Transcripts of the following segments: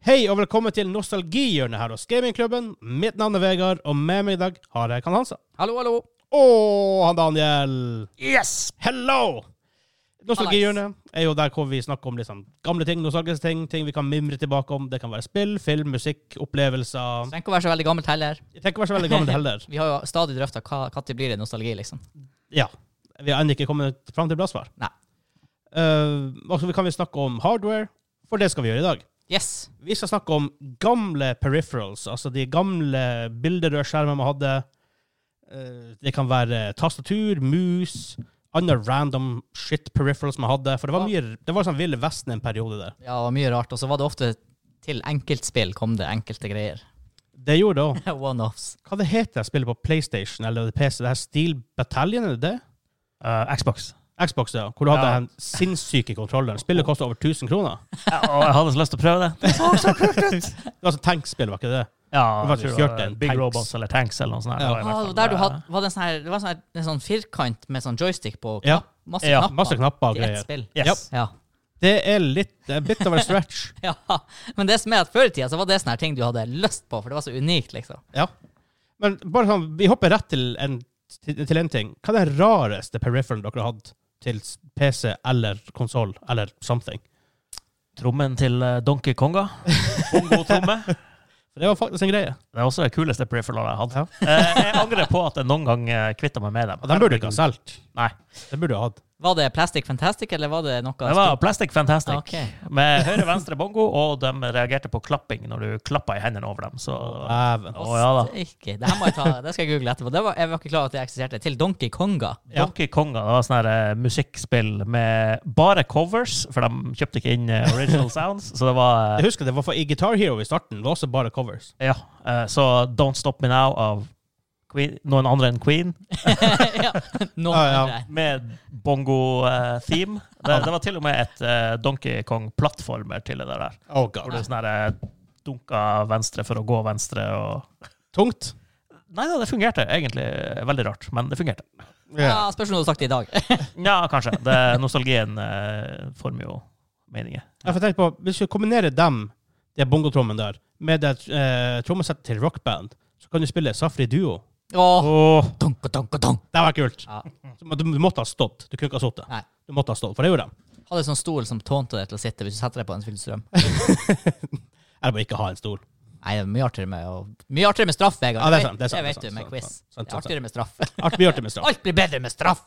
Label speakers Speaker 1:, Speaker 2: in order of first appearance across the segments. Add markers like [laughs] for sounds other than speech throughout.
Speaker 1: Hei og velkommen til nostalgihjørnet her hos Gamingklubben. Mitt navn er Vegard, og med meg i dag har jeg Kan Hansa.
Speaker 2: Hallo, hallo.
Speaker 1: Og han Daniel.
Speaker 2: Yes!
Speaker 1: Hello! Nostalgihjørnet er jo der hvor vi snakker om liksom gamle ting, nostalgiske ting, ting vi kan mimre tilbake om. Det kan være spill, film, musikk, opplevelser.
Speaker 2: Trenger ikke å være så veldig gammelt heller.
Speaker 1: Jeg tenker ikke være så veldig gammelt heller.
Speaker 2: Vi har jo stadig drøfta hva når blir det nostalgi, liksom.
Speaker 1: Ja. Vi har ennå ikke kommet fram til bra svar.
Speaker 2: Nei.
Speaker 1: Eh, og så kan vi snakke om hardware, for det skal vi gjøre i dag.
Speaker 2: Yes.
Speaker 1: Vi skal snakke om gamle peripherals, altså de gamle bilderørskjermene man hadde. Eh, Det kan være tastatur, mus, andre random shit peripherals man hadde. For det var mye, det var sånn Ville Vesten en periode der.
Speaker 2: Ja, det var mye rart. Og så var det ofte til enkeltspill kom det enkelte [laughs] greier.
Speaker 1: Det gjorde det òg.
Speaker 2: One-offs.
Speaker 1: Hva det heter det spillet på PlayStation eller PC? Det her Steel Battalion, er det det?
Speaker 3: Eh, Xbox.
Speaker 1: Xbox, ja. Hvor du hadde
Speaker 3: Ja.
Speaker 1: den sinnssyke kontrolleren. Spillet kosta over 1000 kroner.
Speaker 3: Ja, og jeg hadde så lyst til å prøve det.
Speaker 1: Det var sånn tankspill, var ikke det?
Speaker 3: Ja,
Speaker 1: var
Speaker 3: jeg tror
Speaker 1: kjørt
Speaker 3: var
Speaker 1: en
Speaker 3: Big
Speaker 1: tanks.
Speaker 3: Robots eller Tanks eller noe sånt. her.
Speaker 1: Ja.
Speaker 3: Det var i hvert
Speaker 2: Ah,
Speaker 3: fall,
Speaker 2: og der du
Speaker 3: eh,
Speaker 2: hadde, var det, en sånn her, det var sånn her, en sånn firkant med sånn joystick på.
Speaker 1: Ja.
Speaker 2: Knapp, masse
Speaker 3: Ja,
Speaker 2: knapper.
Speaker 1: Masse knapper og
Speaker 2: Til ett
Speaker 1: greier.
Speaker 2: spill.
Speaker 3: Yes.
Speaker 2: Ja. [laughs]
Speaker 1: Det er litt, det er litt av en stretch.
Speaker 2: ja. Men det som er at før i tida så var det sånne her ting du hadde lyst på, for det var så unikt, liksom.
Speaker 1: Ja. Men bare sånn, vi hopper rett til en, til, til en ting. Hva er den rareste peripheralen dere har hatt til s- PC eller konsoll eller something?
Speaker 3: Trommen til eh, Donkey Konga. Bongo-tromme.
Speaker 1: For det var faktisk en greie.
Speaker 3: Det er også det kuleste peripheralen jeg har hatt. Eh, jeg angrer på at jeg noen gang eh, kvittet meg med dem.
Speaker 1: Og den burde du ikke ha solgt.
Speaker 3: Nei.
Speaker 1: Den burde du ha hatt.
Speaker 2: Var det Plastic Fantastic, eller var det noe
Speaker 3: Det var Plastic Fantastic.
Speaker 2: Ok.
Speaker 3: Med høyre, venstre bongo, og de reagerte på klapping når du klappa i hendene over dem. Så
Speaker 1: Dæven.
Speaker 3: Å, ja da.
Speaker 2: Ikke. Det her må jeg ta, det skal jeg google etterpå. Det var, jeg var ikke klar over at det eksisterte. Til Donkey Konga.
Speaker 1: Ja.
Speaker 3: Donkey Konga det var sånn her eh, musikkspill med bare covers, for de kjøpte ikke inn eh,
Speaker 1: [laughs]
Speaker 3: original sounds. Så det var eh,
Speaker 1: Jeg husker det var for, i Guitar Hero i starten. Det var også bare covers.
Speaker 3: Ja. eh, Så Don't Stop Me Now av Queen, noen andre enn Queen,
Speaker 2: ja. Nå
Speaker 1: Ja, ja.
Speaker 2: hører jeg.
Speaker 3: med bongo-theme. det, det var til og med et eh, Donkey Kong-plattformer til det der.
Speaker 1: Oh
Speaker 3: Hvor
Speaker 1: god.
Speaker 3: du sånn her eh, dunka venstre for å gå venstre og
Speaker 1: Tungt.
Speaker 3: Nei da, det fungerte egentlig veldig rart, men det fungerte.
Speaker 2: Ja, spørs om du har sagt det i dag.
Speaker 3: Ja, kanskje. Det, nostalgien eh, former jo meninger.
Speaker 1: Jeg får tenke på, Hvis vi kombinerer dem, de bongotrommene der, med det eh, trommesettet til rockband, så kan du spille Safri Duo.
Speaker 2: Åh,
Speaker 1: Oh.
Speaker 2: donk, donk, donk.
Speaker 1: Det var kult.
Speaker 2: Ja.
Speaker 1: Så Du, du måtte ha stått. Du kunne ikke ha sittet.
Speaker 2: Nei.
Speaker 1: Du måtte ha stått, for det gjorde de.
Speaker 2: Hadde en sånn stol som tånte deg til å sitte hvis du setter deg på en fyllestrøm.
Speaker 1: Eller bare ikke ha en stol.
Speaker 2: Nei, det er mye artigere med, å- mye artigere med straff, Vegard.
Speaker 1: Ja, det er sant, det er sant,
Speaker 2: vet
Speaker 1: det er
Speaker 2: du,
Speaker 1: sant,
Speaker 2: med
Speaker 1: sant,
Speaker 2: quiz.
Speaker 1: sant, sant,
Speaker 2: det er artigere med straff.
Speaker 1: Alt blir gjort med straff.
Speaker 2: Alt blir bedre med straff!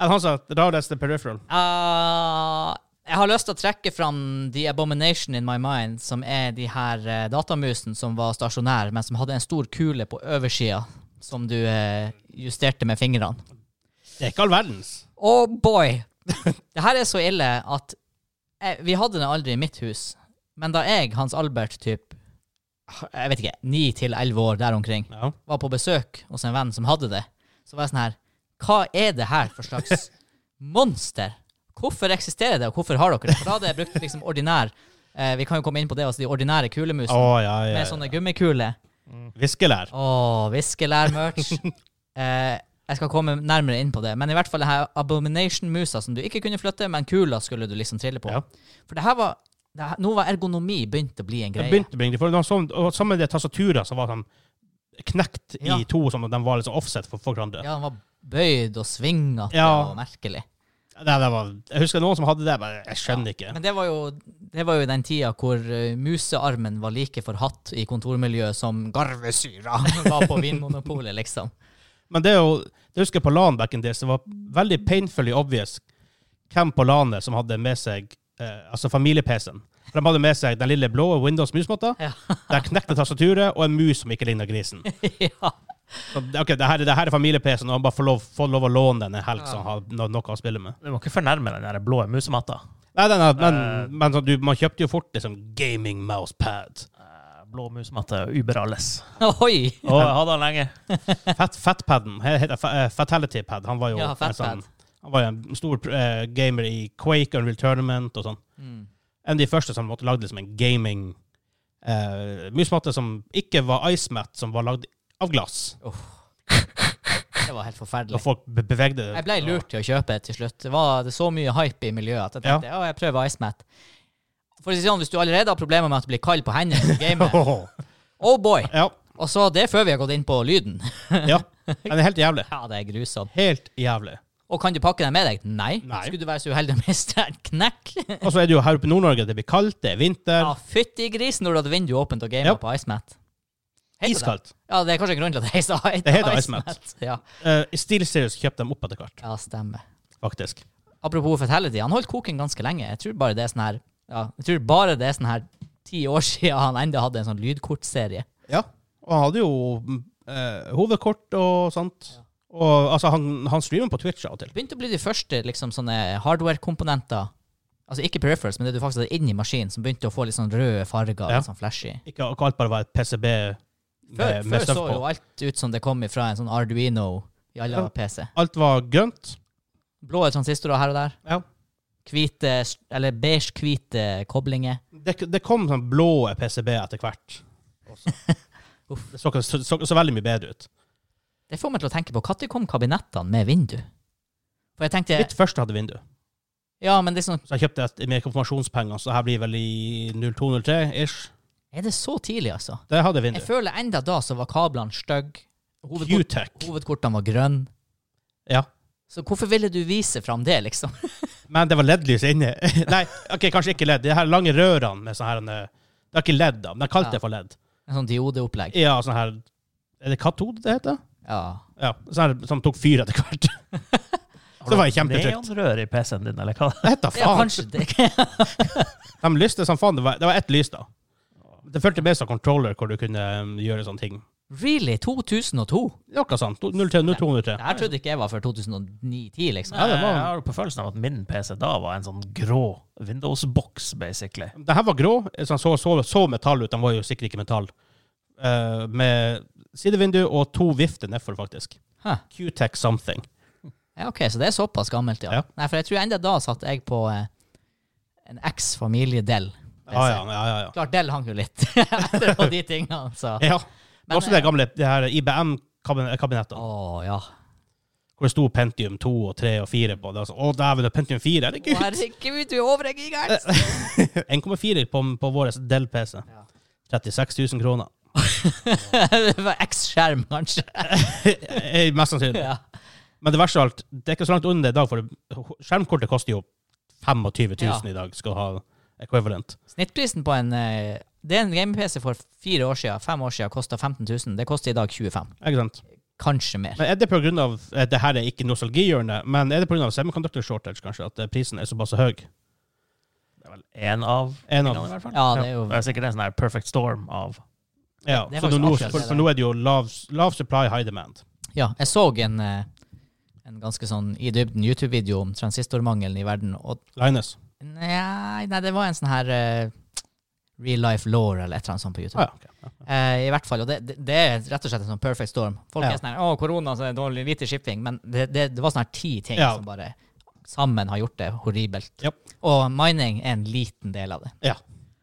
Speaker 1: Enn han sa rareste peripheral.
Speaker 2: Ah, jeg har lyst til å trekke fram The Abomination in my mind, som er de her eh, datamusene som var stasjonære, men som hadde en stor kule på oversida som du eh, justerte med fingrene.
Speaker 1: Det er ikke all verdens.
Speaker 2: Oh boy! Det her er så ille at jeg, Vi hadde den aldri i mitt hus, men da jeg, Hans Albert, typ Jeg vet ikke, ni til elleve år der omkring,
Speaker 1: Ja.
Speaker 2: var på besøk hos en venn som hadde det, så var jeg sånn her Hva er det her for slags monster? Hvorfor eksisterer det, og hvorfor har dere det? For da hadde jeg brukt liksom ordinær eh, Vi kan jo komme inn på det, altså de ordinære kulemusene
Speaker 1: Å, ja, ja,
Speaker 2: med
Speaker 1: ja.
Speaker 2: sånne gummikuler.
Speaker 1: Viskelær.
Speaker 2: Å,
Speaker 1: [laughs]
Speaker 2: viskelær-merch. eh, jeg skal komme nærmere inn på det. Men i hvert fall det her Abomination-musa som du ikke kunne flytte, men kula skulle du liksom trille på.
Speaker 1: Ja.
Speaker 2: For det her var det her, Nå var ergonomi begynt å bli en
Speaker 1: Jeg
Speaker 2: greie.
Speaker 1: begynte å bringe det for det var sånn- og Sammen med de tastaturene som var sånn knekt i
Speaker 2: Ja.
Speaker 1: to, sånn at de var liksom offset for for hverandre.
Speaker 2: Ja, den var bøyd og svingete
Speaker 1: Ja.
Speaker 2: og merkelig.
Speaker 1: Det, det var, jeg husker noen som hadde det. Jeg, bare, jeg skjønner ikke.
Speaker 2: Men det var jo, det var jo i den tida hvor eh, musearmen var like forhatt i kontormiljøet som garvesyra [laughs] var på Vinmonopolet, liksom.
Speaker 1: Men det er jo Det husker jeg på LAN back in days. Det var veldig painfully obvious hvem på LAN-et som hadde med seg eh, altså familie-PC-en. For De hadde med seg den lille blå Windows-musmatta,
Speaker 2: Ja.
Speaker 1: det knekte tastaturet og en mus som ikke ligna grisen.
Speaker 2: [laughs] ja.
Speaker 1: Så, det- ok, det her, det her er familie-PC-en, og han bare får lov, får lov å låne den en helg, så han har no noe å spille med.
Speaker 3: Du må ikke fornærme den der blå musematta.
Speaker 1: Nei, nei, nei,
Speaker 2: Eh.
Speaker 1: men, men sånn, du, man kjøpte jo fort liksom gaming mousepad.
Speaker 3: Eh, Blå musematte uber alles.
Speaker 2: Oi!
Speaker 3: Å, jeg hadde den lenge.
Speaker 1: Fat, fatpaden, he- heter fa- eh, Fatality Pad. Han var jo
Speaker 2: Ja,
Speaker 1: en
Speaker 2: fatpad.
Speaker 1: sånn- han var jo en stor eh, gamer i Quake, Unreal Tournament og sånn.
Speaker 2: Mm.
Speaker 1: En av de første som måtte lagde liksom en gaming eh, musmatte som ikke var icemat, som var lagd av glass.
Speaker 2: Det var helt forferdelig.
Speaker 1: Og folk be bevegde det.
Speaker 2: Jeg
Speaker 1: [laughs]
Speaker 2: ble lurt til å kjøpe det til slutt. Det var det så mye hype i miljøet at jeg
Speaker 1: Ja.
Speaker 2: tenkte ja. jeg prøver Icemat. For å si det sånn, Hvis du allerede har problemer med at det blir kald på hendene på
Speaker 1: [laughs]
Speaker 2: gamet
Speaker 1: Åhå.
Speaker 2: Oh boy!
Speaker 1: Ja.
Speaker 2: Og så det før vi har gått inn på lyden. [laughs]
Speaker 1: ja. Den er helt jævlig.
Speaker 2: Ja, det er grusomt.
Speaker 1: Helt jævlig.
Speaker 2: Og kan du pakke den med deg? Nei.
Speaker 1: Nei.
Speaker 2: Skulle du være så uheldig å miste en knekk?
Speaker 1: Og så er det jo her oppe i Nord-Norge, det blir kaldt, det er vinter.
Speaker 2: Ja, fytti grisen når du hadde vinduet åpent og gamet
Speaker 1: Ja.
Speaker 2: på IceMat. Hei på deg.
Speaker 1: Iskaldt.
Speaker 2: Ja, det er kanskje grunnen til at det heter
Speaker 1: Det heter
Speaker 2: Ice Mat. Ja.
Speaker 1: Uh, Steel Series kjøpte dem opp etter hvert,
Speaker 2: ja, stemmer.
Speaker 1: faktisk.
Speaker 2: Apropos Fatality, han holdt koken ganske lenge. Jeg tror bare det er sånn her ja, jeg tror bare det er sånn her ti år [laughs] siden han enda hadde en sånn lydkortserie.
Speaker 1: Ja. Og han hadde jo eh, hovedkort og sånt. Og altså, han, han streamer på Twitch av og til.
Speaker 2: Begynte å bli de første liksom sånne hardware-komponenter. Altså ikke peripherals, men det du faktisk hadde inni maskinen, som begynte å få litt sånn røde farger.
Speaker 1: Ja.
Speaker 2: Litt sånn flashy.
Speaker 1: Ikke at alt bare var et PCB
Speaker 2: Før,
Speaker 1: med, med
Speaker 2: før så
Speaker 1: støv
Speaker 2: jo
Speaker 1: på.
Speaker 2: alt ut som det kom ifra en sånn Arduino i alle
Speaker 1: Ja.
Speaker 2: PC.
Speaker 1: Alt var grønt.
Speaker 2: Blå transistorer her og der.
Speaker 1: Ja.
Speaker 2: Hvite, s- eller beige-hvite koblinger.
Speaker 1: Det, det kom sånn blå PCB etter hvert. også.
Speaker 2: [laughs] Uff.
Speaker 1: Det så, ikke- så, så, så veldig mye bedre ut.
Speaker 2: Det får meg til å tenke på når kom kabinettene med vindu? For jeg tenkte
Speaker 1: Mitt første hadde vindu.
Speaker 2: Ja, men det er sånn
Speaker 1: Så jeg kjøpte et med konfirmasjonspenger, så det her blir vel i 0203-ish.
Speaker 2: Er det så tidlig, altså?
Speaker 1: Det hadde vindu.
Speaker 2: Jeg føler enda da så var kablene stygge. Hovedkort,
Speaker 1: Q-Tech.
Speaker 2: hovedkortene var grønne.
Speaker 1: Ja.
Speaker 2: Så hvorfor ville du vise fram det, liksom? [laughs]
Speaker 1: Men det var LED-lys inni. [laughs] Nei, ok, kanskje ikke LED. De her lange rørene med sånn her eh, Det er ikke LED, da, men jeg kalte
Speaker 2: Ja.
Speaker 1: det for LED.
Speaker 2: En sånn diodeopplegg.
Speaker 1: Ja, sånn her Er det katode det heter?
Speaker 2: Ja.
Speaker 1: Ja. Sånn her som tok fyr etter hvert. [laughs] Så det var kjempetrygt.
Speaker 3: Neonrør i PC-en din, eller hva?
Speaker 1: Det heter
Speaker 2: ja,
Speaker 1: faen.
Speaker 2: kanskje det.
Speaker 1: De lyste som faen. Det var, det var ett lys, da. Det fulgte med som controller, hvor du kunne um, gjøre sånne ting.
Speaker 2: [laughs] Really? 2002?
Speaker 1: Noe sånt. 03-0203.
Speaker 2: Det her trodde ikke jeg var før 2009-10, liksom.
Speaker 1: Ja, det var-
Speaker 3: Jeg Eh, har på følelsen av at min PC da var en sånn grå Windows-boks, basically.
Speaker 1: Den her var grå. sånn Så, så, så metall ut. Den var jo sikkert ikke metall. Eh, med sidevindu og to vifter nedfor, faktisk.
Speaker 2: Hæ.
Speaker 1: Q-Tech something.
Speaker 2: Ja, ok, så det er såpass gammelt,
Speaker 1: Ja.
Speaker 2: ja. Nei, for jeg tror enda da satt jeg på eh, en eks-familie-del.
Speaker 1: Ah, Ja,
Speaker 2: Ah,
Speaker 1: ja, ja. ja, ja.
Speaker 2: Klart, Del hang jo litt [laughs] etter på de tingene, altså. så.
Speaker 1: Ja. Det
Speaker 2: Men,
Speaker 1: var også det gamle det her IBM-kabinettene,
Speaker 2: Å, ja.
Speaker 1: hvor det sto Pentium 2 og 3 og 4 på. Det var sånn, Å, dæven, det er Pentium 4,
Speaker 2: Å,
Speaker 1: herregud!
Speaker 2: herregud, du er over en gigahertz! [laughs]
Speaker 1: [laughs] 1,4 på, på vår Dell-PC.
Speaker 2: Ja.
Speaker 1: 36 000 kroner.
Speaker 2: det var X-skjerm, kanskje.
Speaker 1: Eh, Mest sannsynlig.
Speaker 2: Ja.
Speaker 1: Men det verste av alt, det er ikke så langt under i dag, for skjermkortet koster jo 25 000
Speaker 2: Ja.
Speaker 1: i dag, skal ha equivalent.
Speaker 2: Snittprisen på en eh, Det er en game-PC for fire år siden, fem år siden, kosta 15 000. Det koster i dag 25
Speaker 1: Ikke sant?
Speaker 2: Kanskje mer.
Speaker 1: Men er det på grunn av, eh, det her er ikke nostalgihjørnet, men er det pga. semiconductor shortage, kanskje, at eh, prisen er såpass høy?
Speaker 3: Det er vel én av
Speaker 1: En
Speaker 3: tingene, i
Speaker 1: av
Speaker 3: hvert fall.
Speaker 2: Ja, det er jo
Speaker 3: Det er sikkert en sånn her perfect storm av
Speaker 1: Ja,
Speaker 2: Det er
Speaker 1: så
Speaker 2: faktisk
Speaker 1: nå,
Speaker 2: akkurat
Speaker 1: for,
Speaker 2: det
Speaker 1: for
Speaker 2: der.
Speaker 1: nå er det jo lav, lav supply, high demand.
Speaker 2: Ja, jeg så en, eh, en ganske sånn i dybden YouTube-video om transistormangelen i verden, og
Speaker 1: Linus.
Speaker 2: Nei, nei, det var en sånn her eh, Real Life Lore eller et eller annet sånt på YouTube.
Speaker 1: Ah, ja. ok.
Speaker 2: Eh, I hvert fall, og det, det, det er rett og slett en sånn perfect storm. Folk
Speaker 1: Ja.
Speaker 2: er sånn her, å, korona, så er det dårlig, lite shipping, men det, det, det var sånn her ti ting
Speaker 1: Ja.
Speaker 2: som bare sammen har gjort det horribelt.
Speaker 1: Japp.
Speaker 2: Og mining er en liten del av det.
Speaker 1: ja.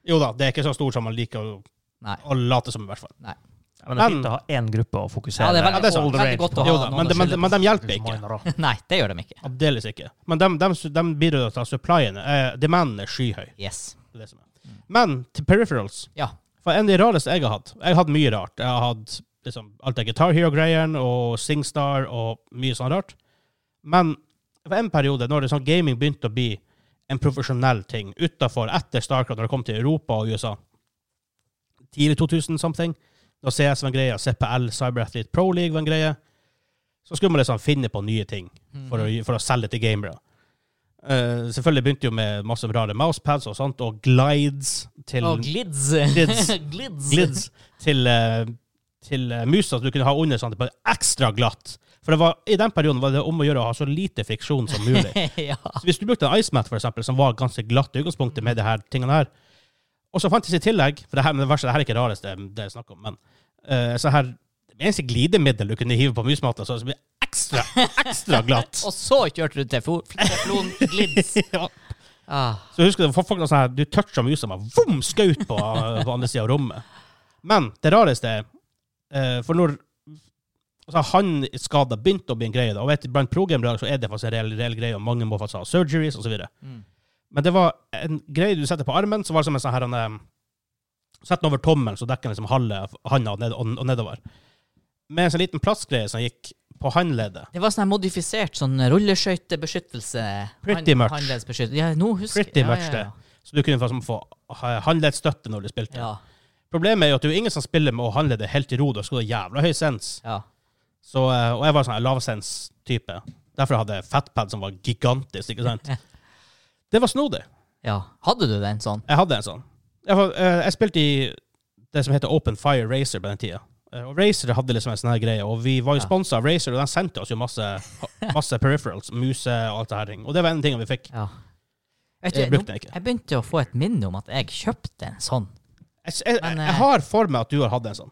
Speaker 1: Jo da, det er ikke så stort som man liker å,
Speaker 2: Nei.
Speaker 1: å late som, i hvert fall.
Speaker 3: Ja, Men det er
Speaker 1: Men-
Speaker 3: fint å ha én gruppe å fokusere
Speaker 2: Ja, det er veldig,
Speaker 1: det er sånn. sant.
Speaker 2: og veldig godt å ha
Speaker 1: Jo da,
Speaker 2: noen
Speaker 1: men,
Speaker 2: å
Speaker 1: de- men,
Speaker 2: skylde
Speaker 1: men de hjelper ikke. [laughs]
Speaker 3: Minor, da.
Speaker 2: på. [laughs] Nei, det gjør de ikke.
Speaker 1: Aldeles ikke. Men de, de, de bidrar til at supplyen, eh, demanden er skyhøy.
Speaker 2: Yes.
Speaker 1: Det er det som er.
Speaker 2: Mm.
Speaker 1: Men til peripherals
Speaker 2: Ja.
Speaker 1: For en av de rareste jeg har hatt Jeg har hatt mye rart. Jeg har hatt liksom, alt det Guitar Hero-greiene og SingStar og mye sånn rart. Men det var en periode når det, sånn, gaming begynte å bli en profesjonell ting utenfor, etter Starcraft, når det kom til Europa og USA Tidlig 2000 something. Da CS var en greie, CPL, Cyberathlete Pro League var en greie. Så skulle man liksom finne på nye ting for å, for å selge til gamere. Eh, selvfølgelig begynte jo med masse rare mousepads og sånt, og glides til
Speaker 2: Og glids. [laughs]
Speaker 1: Glids.
Speaker 2: glids.
Speaker 1: glids til, eh, til eh, musa som du kunne ha under sånn at det ble ekstra glatt. For det var, i den perioden var det om å gjøre å ha så lite friksjon som mulig.
Speaker 2: [laughs] ja.
Speaker 1: Så hvis du brukte en icemat, for eksempel, som var ganske glatt i utgangspunktet med det her tingene her, og så fantes i tillegg, for det her, men det verste, det her er ikke det rareste det er snakk om, men eh, så her, det eneste glidemiddel du kunne hive på musmatta, så det ble ekstra, ekstra
Speaker 2: [laughs]
Speaker 1: glatt.
Speaker 2: Og så kjørte du til fo- teflon glids.
Speaker 1: [laughs] Ja.
Speaker 2: Ah.
Speaker 1: Så jeg husker det var folk sånn her, du toucha musa meg, vom, skaut på, eh, på andre sida av rommet. Men det rareste er, eh, for når altså, han skada begynte å bli en greie, da, og vet, du, blant pro-gamere så er det faktisk en reell, reell greie, og mange må faktisk ha surgeries osv.
Speaker 2: Mm.
Speaker 1: Men det var en greie du setter på armen, så var det som en sånn her han, eh, Sett den over tommelen, så dekker den liksom halve handa og, ned, og, og nedover. Med en sånn liten plastgreie som gikk på håndleddet.
Speaker 2: Det var sånn her modifisert sånn rulleskøytebeskyttelse.
Speaker 1: Pretty much.
Speaker 2: Håndleddsbeskyttelse. Ja, nå husker
Speaker 1: Pretty
Speaker 2: ja,
Speaker 1: much
Speaker 2: ja,
Speaker 1: Så du kunne få, som, få ha- håndleddsstøtte når du spilte.
Speaker 2: Ja,
Speaker 1: Problemet er jo at det er jo ingen som spiller med å handle det helt i ro. Da skal du ha jævla høy sens.
Speaker 2: ja.
Speaker 1: Så, eh, og jeg var sånn lavsens-type. Derfor hadde jeg fatpad som var gigantisk, ikke
Speaker 2: [laughs]
Speaker 1: sant? Det var snodig.
Speaker 2: ja. Hadde du den sånn?
Speaker 1: Jeg hadde en sånn. Jeg, var, eh, jeg spilte i det som heter Open Fire Racer på den tida. Eh, Og Racer hadde liksom en sånn her greie, og vi var jo
Speaker 2: Ja.
Speaker 1: sponsa av Racer, og de sendte oss jo masse, masse peripherals, muse og alt det her. ting. Og det var en ting vi fikk.
Speaker 2: Ja. Vet du,
Speaker 1: Jeg brukte den ikke.
Speaker 2: nå, jeg begynte å få et minne om at jeg kjøpte en sånn.
Speaker 1: Jeg, jeg, jeg,
Speaker 2: Men, eh,
Speaker 1: jeg har for meg at du har hatt en sånn.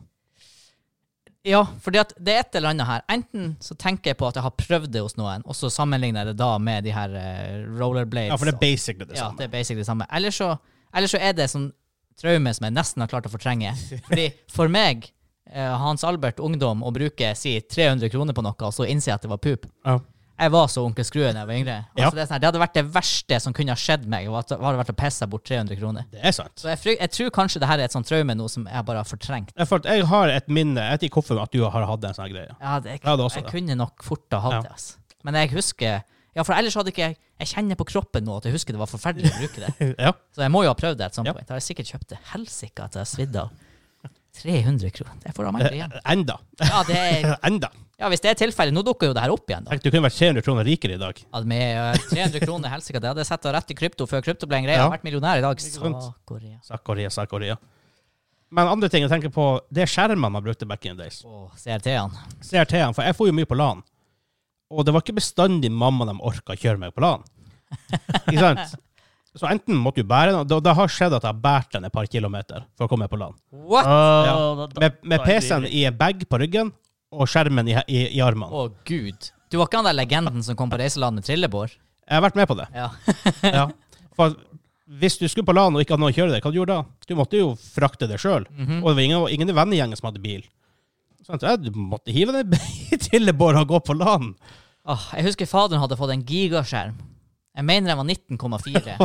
Speaker 2: Ja, fordi at det er et eller annet her. Enten så tenker jeg på at jeg har prøvd det hos noen, og så sammenligner jeg det da med de her eh, rollerblades.
Speaker 1: Ja, for det er
Speaker 2: og-
Speaker 1: basically det
Speaker 2: Ja,
Speaker 1: samme.
Speaker 2: det er basically det samme. Eller så, eller så er det sånn traume som jeg nesten har klart å fortrenge.
Speaker 1: [laughs]
Speaker 2: Fordi for meg, eh, Hans Albert ungdom, å bruke si 300 kroner på noe, og så innse at det var pup
Speaker 1: Ja.
Speaker 2: Jeg var så onkel Skrue da jeg var yngre. Altså,
Speaker 1: Ja.
Speaker 2: det, er sånn her, det hadde vært det verste som kunne ha skjedd meg, var at det hadde vært å pisse bort 300 kroner.
Speaker 1: Det er sant.
Speaker 2: Så jeg, fryk- jeg tror kanskje det her er et sånt traume nå som jeg bare har fortrengt.
Speaker 1: Jeg, følte, jeg har et minne, jeg vet ikke hvorfor, at du har hatt en sånn her greie.
Speaker 2: Ja, det, jeg,
Speaker 1: Jeg hadde også
Speaker 2: jeg
Speaker 1: det.
Speaker 2: kunne nok fort ha hatt
Speaker 1: Ja.
Speaker 2: det. Altså. Men jeg husker Ja, for ellers hadde ikke jeg Jeg kjenner på kroppen nå at jeg husker det var forferdelig å bruke det.
Speaker 1: Ja.
Speaker 2: Så jeg må jo ha prøvd det et sånt
Speaker 1: Ja.
Speaker 2: point. Da har jeg sikkert kjøpt det helsike at jeg har svidd av. 300 kroner. Det får jeg merke
Speaker 1: [laughs]
Speaker 2: igjen.
Speaker 1: Eh, Enda. Eh,
Speaker 2: Ja, det er,
Speaker 1: Enda.
Speaker 2: ja, hvis det er tilfellet. Nå dukker jo det her opp igjen, da.
Speaker 1: Tenk, du kunne vært 300 kroner rikere i dag.
Speaker 2: Ja, med eh, 300 kroner, helsike. Det hadde jeg sett rett i krypto før krypto ble en greie. Jeg
Speaker 1: Ja.
Speaker 2: har vært millionær i dag.
Speaker 1: sant?
Speaker 2: Sakkoria.
Speaker 1: Sakkoria, Sakkoria. Men andre ting jeg tenker på, det er skjermene man brukte back in the days.
Speaker 2: Å, CRT-ene.
Speaker 1: CRT-en, for jeg får jo mye på LAN. Og det var ikke bestandig mamma de orka kjøre meg på LAN. Ikke sant? Så enten måtte du bære den, og da- da har skjedd at jeg har båret den et par kilometer for å komme meg på LAN.
Speaker 2: What?!
Speaker 3: Åh, da-
Speaker 1: Med, med
Speaker 3: da er det
Speaker 1: PC-en i en bag på ryggen og skjermen i, i, i
Speaker 2: Å,
Speaker 1: armene.
Speaker 2: gud. Du var ikke han der legenden som kom på reiseland med trillebår?
Speaker 1: Jeg har vært med på det.
Speaker 2: Ja.
Speaker 1: Ja. For hvis du skulle på LAN og ikke hadde noen å kjøre deg, hva du gjorde da? Du måtte jo frakte deg sjøl.
Speaker 2: Mhm.
Speaker 1: Og det var ingen, ingen i vennegjengen som hadde bil. Sånn, ja, du måtte hive deg [laughs] i Trillebår og gå på LAN.
Speaker 2: Åh, jeg husker faderen hadde fått en gigaskjerm. Jeg mener den
Speaker 1: [laughs]
Speaker 2: var 19,4.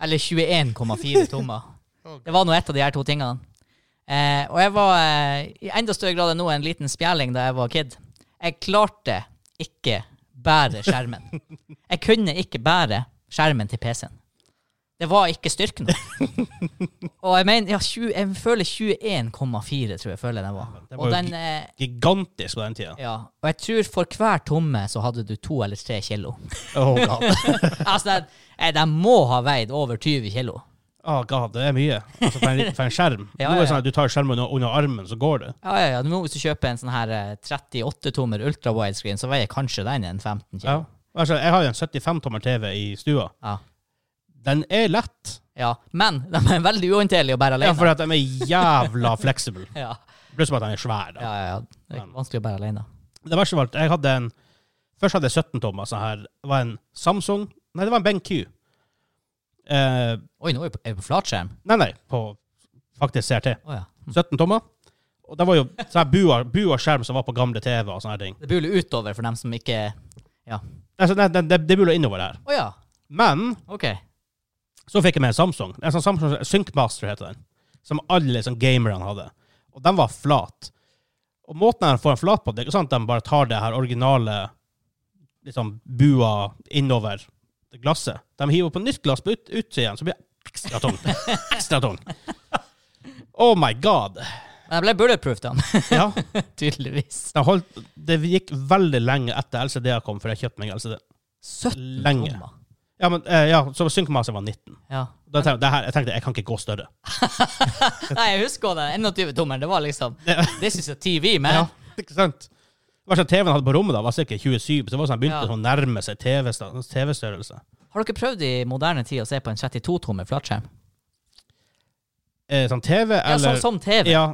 Speaker 2: Eller 21,4 tommer. Det var nå et av de her to tingene. Eh, og jeg var eh, i enda større grad enn nå en liten spjæling da jeg var kid. Jeg klarte ikke bære skjermen. Jeg kunne ikke bære skjermen til PC-en. Det var ikke styrken.
Speaker 1: [laughs]
Speaker 2: Og jeg mener, ja, 20, jeg føler 21,4 tror jeg føler den var.
Speaker 1: Det var
Speaker 2: Og
Speaker 1: jo
Speaker 2: den... Eh,
Speaker 1: Gigantisk på den tida.
Speaker 2: ja, og jeg tror for hver tomme så hadde du to eller tre kilo. [laughs]
Speaker 1: Oh, god. [laughs]
Speaker 2: altså, de, eh, de må ha veid over 20 kilo.
Speaker 1: Å, god, det er mye. Altså, for, en, for en skjerm.
Speaker 2: Ja,
Speaker 1: Nå er det
Speaker 2: ja,
Speaker 1: sånn at du tar skjermen under, under armen, så går det.
Speaker 2: Ja, ja, ja. Nå Hvis du kjøper en sånn her eh, 38-tommer ultra-widescreen, så veier kanskje den en 15 kilo.
Speaker 1: Ja. Altså, jeg har jo en 75-tommer TV i stua.
Speaker 2: Ja.
Speaker 1: Den er lett,
Speaker 2: Ja, Men de er veldig uhåndterlige å bære
Speaker 1: ja,
Speaker 2: alene.
Speaker 1: for at den er jævla fleksibel.
Speaker 2: Ja,
Speaker 1: Pluss at den er svær. Da.
Speaker 2: ja, ja, ja. Det er
Speaker 1: Men-
Speaker 2: vanskelig å bære alene.
Speaker 1: Det verste var at jeg hadde en Først hadde jeg 17 tommer sånn her. Det var en Samsung Nei, det var en BenQ. Eh,
Speaker 2: Oi, nå er vi på, er vi på flatskjerm.
Speaker 1: nei, nei, på faktisk CRT.
Speaker 2: Å ja.
Speaker 1: 17 tommer. Og det var jo sånn her bua, bua skjerm som var på gamle TV og sånne her ting.
Speaker 2: Det buler utover for dem som ikke
Speaker 1: Altså, det, det, det, det burde innover der.
Speaker 2: Å ja,
Speaker 1: Men
Speaker 2: OK.
Speaker 1: så fikk jeg med en Samsung. En sånn Samsung Syncmaster heter den. Som alle sånn gamerne hadde. Og den var flat. Og måten den får den flat på, det er ikke sånn at de bare tar det her originale liksom bua innover glasset. De hiver på nytt glass på ut, utsiden, så blir det ekstra tungt. Ekstra tung. Oh my god.
Speaker 2: Men jeg ble bulletproof, da. [laughs]
Speaker 1: Ja,
Speaker 2: Tydeligvis.
Speaker 1: de holdt, det gikk veldig lenge etter LCD-a kom, før jeg kjøpte meg LCD.
Speaker 2: 17
Speaker 1: Lenge.
Speaker 2: tommer.
Speaker 1: Ja, men eh, ja, så Syncmaster var 19.
Speaker 2: Ja.
Speaker 1: Da tenkte jeg, det her, jeg tenkte jeg kan ikke gå større.
Speaker 2: Nei, jeg husker den 21-tommeren. Det var liksom This is a TV, man.
Speaker 1: Ja, ikke sant? Det var sånn TV-en hadde på rommet da, var sikkert 27, så det var sånn, begynte
Speaker 2: Ja.
Speaker 1: sånn å nærme seg TV-sta- TV-størrelse.
Speaker 2: Har dere prøvd i moderne tid å se på en 32-tommer flatskjerm?
Speaker 1: Eh, sånn TV,
Speaker 2: Ja,
Speaker 1: eller...
Speaker 2: som, som TV.
Speaker 1: Ja,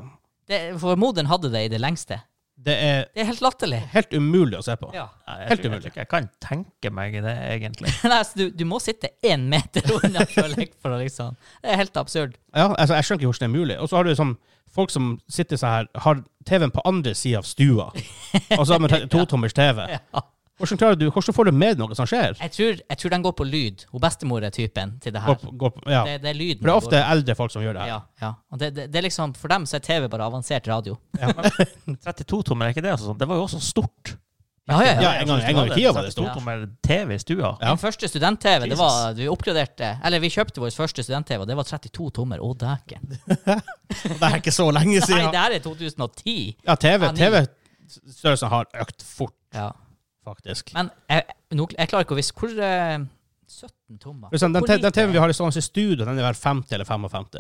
Speaker 2: Det, for moderen hadde det i det lengste.
Speaker 1: det er
Speaker 2: Det er helt latterlig.
Speaker 1: helt umulig å se på.
Speaker 2: Ja.
Speaker 3: Nei, jeg
Speaker 1: Helt
Speaker 3: tror- Jeg
Speaker 1: umulig.
Speaker 3: tror ikke jeg kan tenke meg det, egentlig.
Speaker 2: [laughs]
Speaker 3: [laughs]
Speaker 2: Nei, altså, du, du må sitte én meter [laughs] unna føler jeg, for å liksom Det er helt absurd.
Speaker 1: Ja, altså, jeg skjønner ikke hvordan det er mulig. Og så har du sånn, folk som
Speaker 2: [laughs]
Speaker 1: sitter sånn her, har TV-en på andre siden av stua. Og så har man te- totommers TV.
Speaker 2: Ja.
Speaker 1: Hvordan, klarer du, hvordan får du med deg noe som skjer?
Speaker 2: Jeg tror, jeg tror den går på lyd. Hun bestemor er typen til det her.
Speaker 1: Går på, går på, ja.
Speaker 2: Det, det er lyden.
Speaker 1: For det er
Speaker 2: det går
Speaker 1: ofte eldre folk som gjør det
Speaker 2: på.
Speaker 1: her.
Speaker 2: Ja, ja. Og det, det, det er liksom, for dem så er TV bare avansert radio.
Speaker 3: 32-tommer, er ikke det? Altså, sånn? det var jo også stort.
Speaker 2: Ja, ja, ja.
Speaker 1: Ja, en gang- en gang i tida var det stort.
Speaker 3: 32-tommer TV i stua.
Speaker 1: Ja.
Speaker 2: Min første student-TV, det var
Speaker 3: Jesus.
Speaker 2: Du oppgraderte Eller vi kjøpte vår første student-TV, og det var 32 tommer. Å, dæken.
Speaker 1: [laughs] Det er ikke så lenge
Speaker 2: [laughs] Nei,
Speaker 1: siden.
Speaker 2: det her er 2010.
Speaker 1: Ja, TV,
Speaker 2: Ja, ni.
Speaker 1: TV størrelsen har økt fort,
Speaker 2: Ja.
Speaker 1: faktisk.
Speaker 2: Men jeg, nå, jeg klarer ikke å vise hvor eh, 17 tommer?
Speaker 1: Hvis Den, den,
Speaker 2: Hvor
Speaker 1: den
Speaker 2: lite
Speaker 1: TV-en vi
Speaker 2: er
Speaker 1: har i sånn i studio, den er vel 50 eller 55?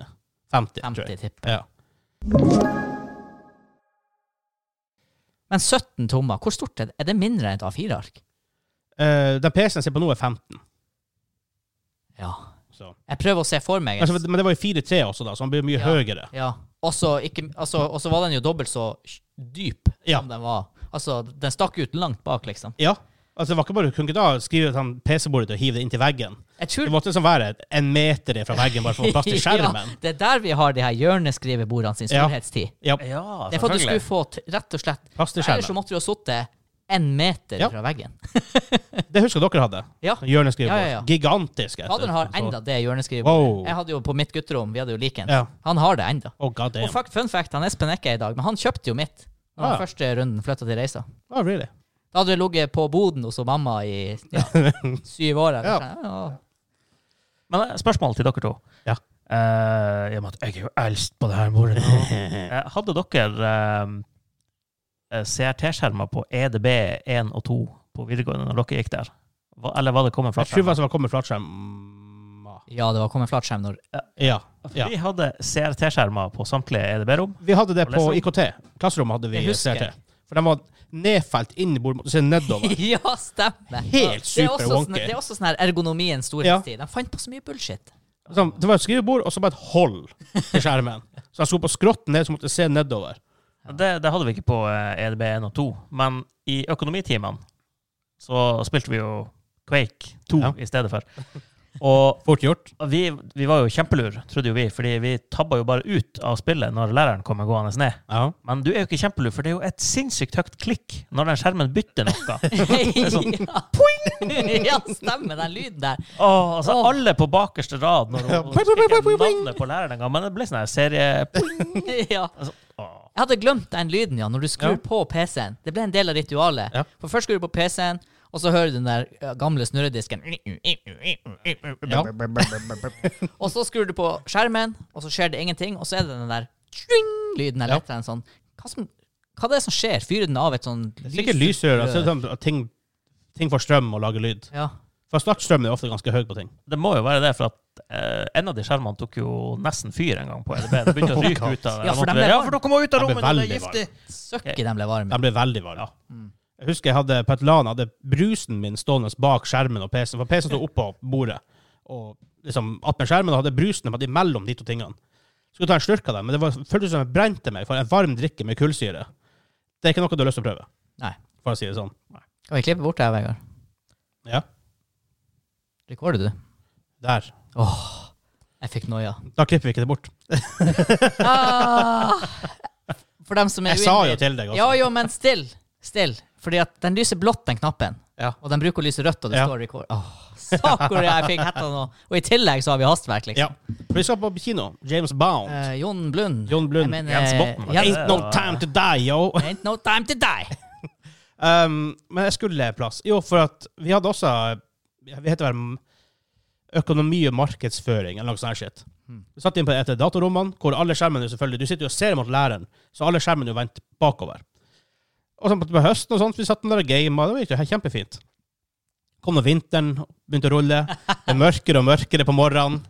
Speaker 1: 50, tror
Speaker 2: 50,
Speaker 1: jeg.
Speaker 2: tipper jeg.
Speaker 1: Ja.
Speaker 2: Men 17 tommer, hvor stort er det? Er det mindre enn et A4-ark?
Speaker 1: Eh, den PC-en jeg ser på nå, er 15.
Speaker 2: Ja.
Speaker 1: Så.
Speaker 2: Jeg prøver å se for meg.
Speaker 1: Altså, men det var i 4-3 også, da, så den blir mye
Speaker 2: Ja.
Speaker 1: høyere.
Speaker 2: Ja. Og så ikke- altså, og så var den jo dobbelt så dyp
Speaker 1: Ja.
Speaker 2: som den var. Altså, den stakk ut langt bak, liksom.
Speaker 1: Ja. Altså, det var ikke bare, Du kunne ikke da skrive sånn PC-bordet og hive det inntil veggen.
Speaker 2: Jeg
Speaker 1: Det
Speaker 2: tror
Speaker 1: måtte liksom være en meter fra veggen bare for å få plass til skjermen.
Speaker 2: [laughs] ja, det er der vi har de her hjørneskrivebordene sin
Speaker 1: Ja.
Speaker 2: storhetstid.
Speaker 1: Ja,
Speaker 3: Ja,
Speaker 2: Det
Speaker 1: Altså,
Speaker 2: er for at du skulle få t rett og slett
Speaker 1: plass til
Speaker 2: Ellers så
Speaker 1: skjermen.
Speaker 2: måtte du ha sittet en meter
Speaker 1: Ja.
Speaker 2: fra veggen.
Speaker 1: Det husker dere hadde. Sånn
Speaker 2: Ja.
Speaker 1: Hjørneskrivebord.
Speaker 2: Ja, ja, ja.
Speaker 1: Gigantisk. etter.
Speaker 2: Faderen har enda det hjørneskrivebordet.
Speaker 1: Wow.
Speaker 2: Jeg hadde jo på mitt gutterom, vi hadde jo like en.
Speaker 1: Ja.
Speaker 2: Han har det enda.
Speaker 1: Oh, god
Speaker 2: Og
Speaker 1: damn.
Speaker 2: fak- fun fact, han Espen er ikke her i dag, men han kjøpte jo mitt når
Speaker 1: Ah.
Speaker 2: den første runden flytta til Reisa.
Speaker 1: Oh, really?
Speaker 2: [laughs] Da hadde det ligget på boden hos mamma i
Speaker 1: [laughs]
Speaker 2: ja, syv år. eller sånn. Ja.
Speaker 3: Men eh, spørsmål til dere to.
Speaker 1: Ja.
Speaker 3: Eh, I og med at jeg er jo eldst på det her bordet
Speaker 1: [laughs]
Speaker 3: nå. Eh, hadde dere eh, CRT-skjermer på E EDB 1 og 2 på videregående når dere gikk der? Hva, eller var det kommet fra
Speaker 1: Jeg tror faktisk det var kommet flatskjermer.
Speaker 2: ja, det var kommet flatskjerm når
Speaker 1: Ja. ja.
Speaker 3: Vi hadde CRT-skjermer på samtlige E EDB-rom.
Speaker 1: Vi hadde det
Speaker 3: Og
Speaker 1: på
Speaker 3: liksom-
Speaker 1: IKT. Klasserommet hadde vi
Speaker 2: Jeg husker.
Speaker 1: CRT. For de var nedfelt inn i bordet. Du ser
Speaker 2: [laughs]
Speaker 1: nedover.
Speaker 2: Ja, stemmer!
Speaker 1: Helt
Speaker 2: Det er
Speaker 1: super
Speaker 2: også sånn-
Speaker 1: wonky.
Speaker 2: Det er også sånn her ergonomiens storhetstid. De fant på så mye
Speaker 1: [laughs]
Speaker 2: bullshit.
Speaker 1: Sånn, det var et skrivebord, og så bare et hold til skjermen. Så jeg skulle på skråtten ned, så måtte jeg se nedover.
Speaker 3: Det, det hadde vi ikke på eh, EDB 1 og 2, men i økonomitimene så spilte vi jo Quake 2
Speaker 1: Ja.
Speaker 3: i stedet for. Og
Speaker 1: Fort gjort.
Speaker 3: vi, vi var jo kjempelur, trodde jo vi, fordi vi tabba jo bare ut av spillet når læreren kommer gående ned.
Speaker 1: Ja.
Speaker 3: Men du er jo ikke kjempelur, for det er jo et sinnssykt høyt klikk når den skjermen bytter
Speaker 1: [laughs]
Speaker 3: noe.
Speaker 1: sånn
Speaker 2: [laughs] ja. Poing! [laughs] ja, stemmer den lyden der.
Speaker 3: Åh, altså
Speaker 2: Åh.
Speaker 3: Alle på bakerste rad når
Speaker 1: Ja.
Speaker 3: hun skriker navnet på læreren en gang, men det ble sånn her serie...
Speaker 1: [laughs]
Speaker 2: ja.
Speaker 3: Altså, åh.
Speaker 2: Jeg hadde glemt den lyden, ja, når du skrur
Speaker 1: ah. Ja.
Speaker 2: på PC-en. Det ble en del av ritualet.
Speaker 1: Ja.
Speaker 2: For først skrur du på PC-en, og så hører du den der ja, gamle snurredisken.
Speaker 1: Ja.
Speaker 2: Og så skrur du på skjermen, og så skjer det ingenting, og så er det den der tjing-lyden eller
Speaker 1: Ja.
Speaker 2: et eller annet sånn. Hva, som, hva det er som skjer? Fyrer den av et sånn
Speaker 1: Det er Sikkert lysrør. Altså, sånn at ting, ting får strøm og lager lyd.
Speaker 2: Ja.
Speaker 1: For startstrømmen er ofte ganske høy på ting.
Speaker 3: Det må jo være det, for at eh, en av de skjermene tok jo nesten fyr en gang på LB. Det begynte å ryke ut av
Speaker 2: Ja, for
Speaker 3: Jeg måtte-
Speaker 2: dem er
Speaker 3: ja,
Speaker 2: varm.
Speaker 3: for dere må ut av
Speaker 1: Den ble
Speaker 3: rommet, det er
Speaker 1: veldig
Speaker 3: giftig!
Speaker 2: Søkki de ble varme.
Speaker 1: Den ble veldig varm. Jeg husker jeg hadde på et LAN hadde brusen min stående bak skjermen og PC-en, for PC-en sto oppå bordet. Og liksom attmed skjermen og hadde brusen på- imellom de to tingene. Skulle ta en slurk av den, men det var, føltes som jeg brente meg for en varm drikke med kullsyre. Det er ikke noe du har lyst til å prøve,
Speaker 2: Nei.
Speaker 1: for å si det sånn.
Speaker 2: Kan vi klippe bort det her, Vegard?
Speaker 1: Ja,
Speaker 2: Rekorder du?
Speaker 1: der.
Speaker 2: Jeg fikk noia.
Speaker 1: Da klipper vi ikke det bort.
Speaker 2: Ah, for dem som er
Speaker 1: Jeg sa
Speaker 2: uinvigd.
Speaker 1: jo til deg, altså.
Speaker 2: Ja, jo, men still. Still. Fordi at den lyser blått, den knappen.
Speaker 1: Ja.
Speaker 2: Og den bruker å lyse rødt, og det
Speaker 1: Ja.
Speaker 2: står record. Åh, sak hvor jeg fikk hetta nå. Og i tillegg så har vi hastverk, liksom.
Speaker 1: Ja. For vi skal på kino. James Bound.
Speaker 2: Eh, Jon Blund.
Speaker 1: Jon Blund.
Speaker 2: Jeg mener, eh,
Speaker 3: Jens Botten, var det
Speaker 2: Jens-
Speaker 1: Ain't no time to die, yo!
Speaker 2: Ain't no time
Speaker 1: [laughs]
Speaker 2: to die.
Speaker 1: Um, men jeg skulle en plass. Jo, for at vi hadde også Jeg vet det var økonomi og markedsføring eller noe sånt. her shit.
Speaker 2: Hmm.
Speaker 1: Vi satt inn på et av datarommene, hvor alle skjermene er selvfølgelig, Du sitter jo og ser mot læreren, så alle skjermene er jo vendt bakover. Og så på- på høsten og sånt, vi satt den der og gama. Det gikk jo helt kjempefint. Kom nå vinteren, begynte å rulle. Det er mørkere og mørkere på morgenen.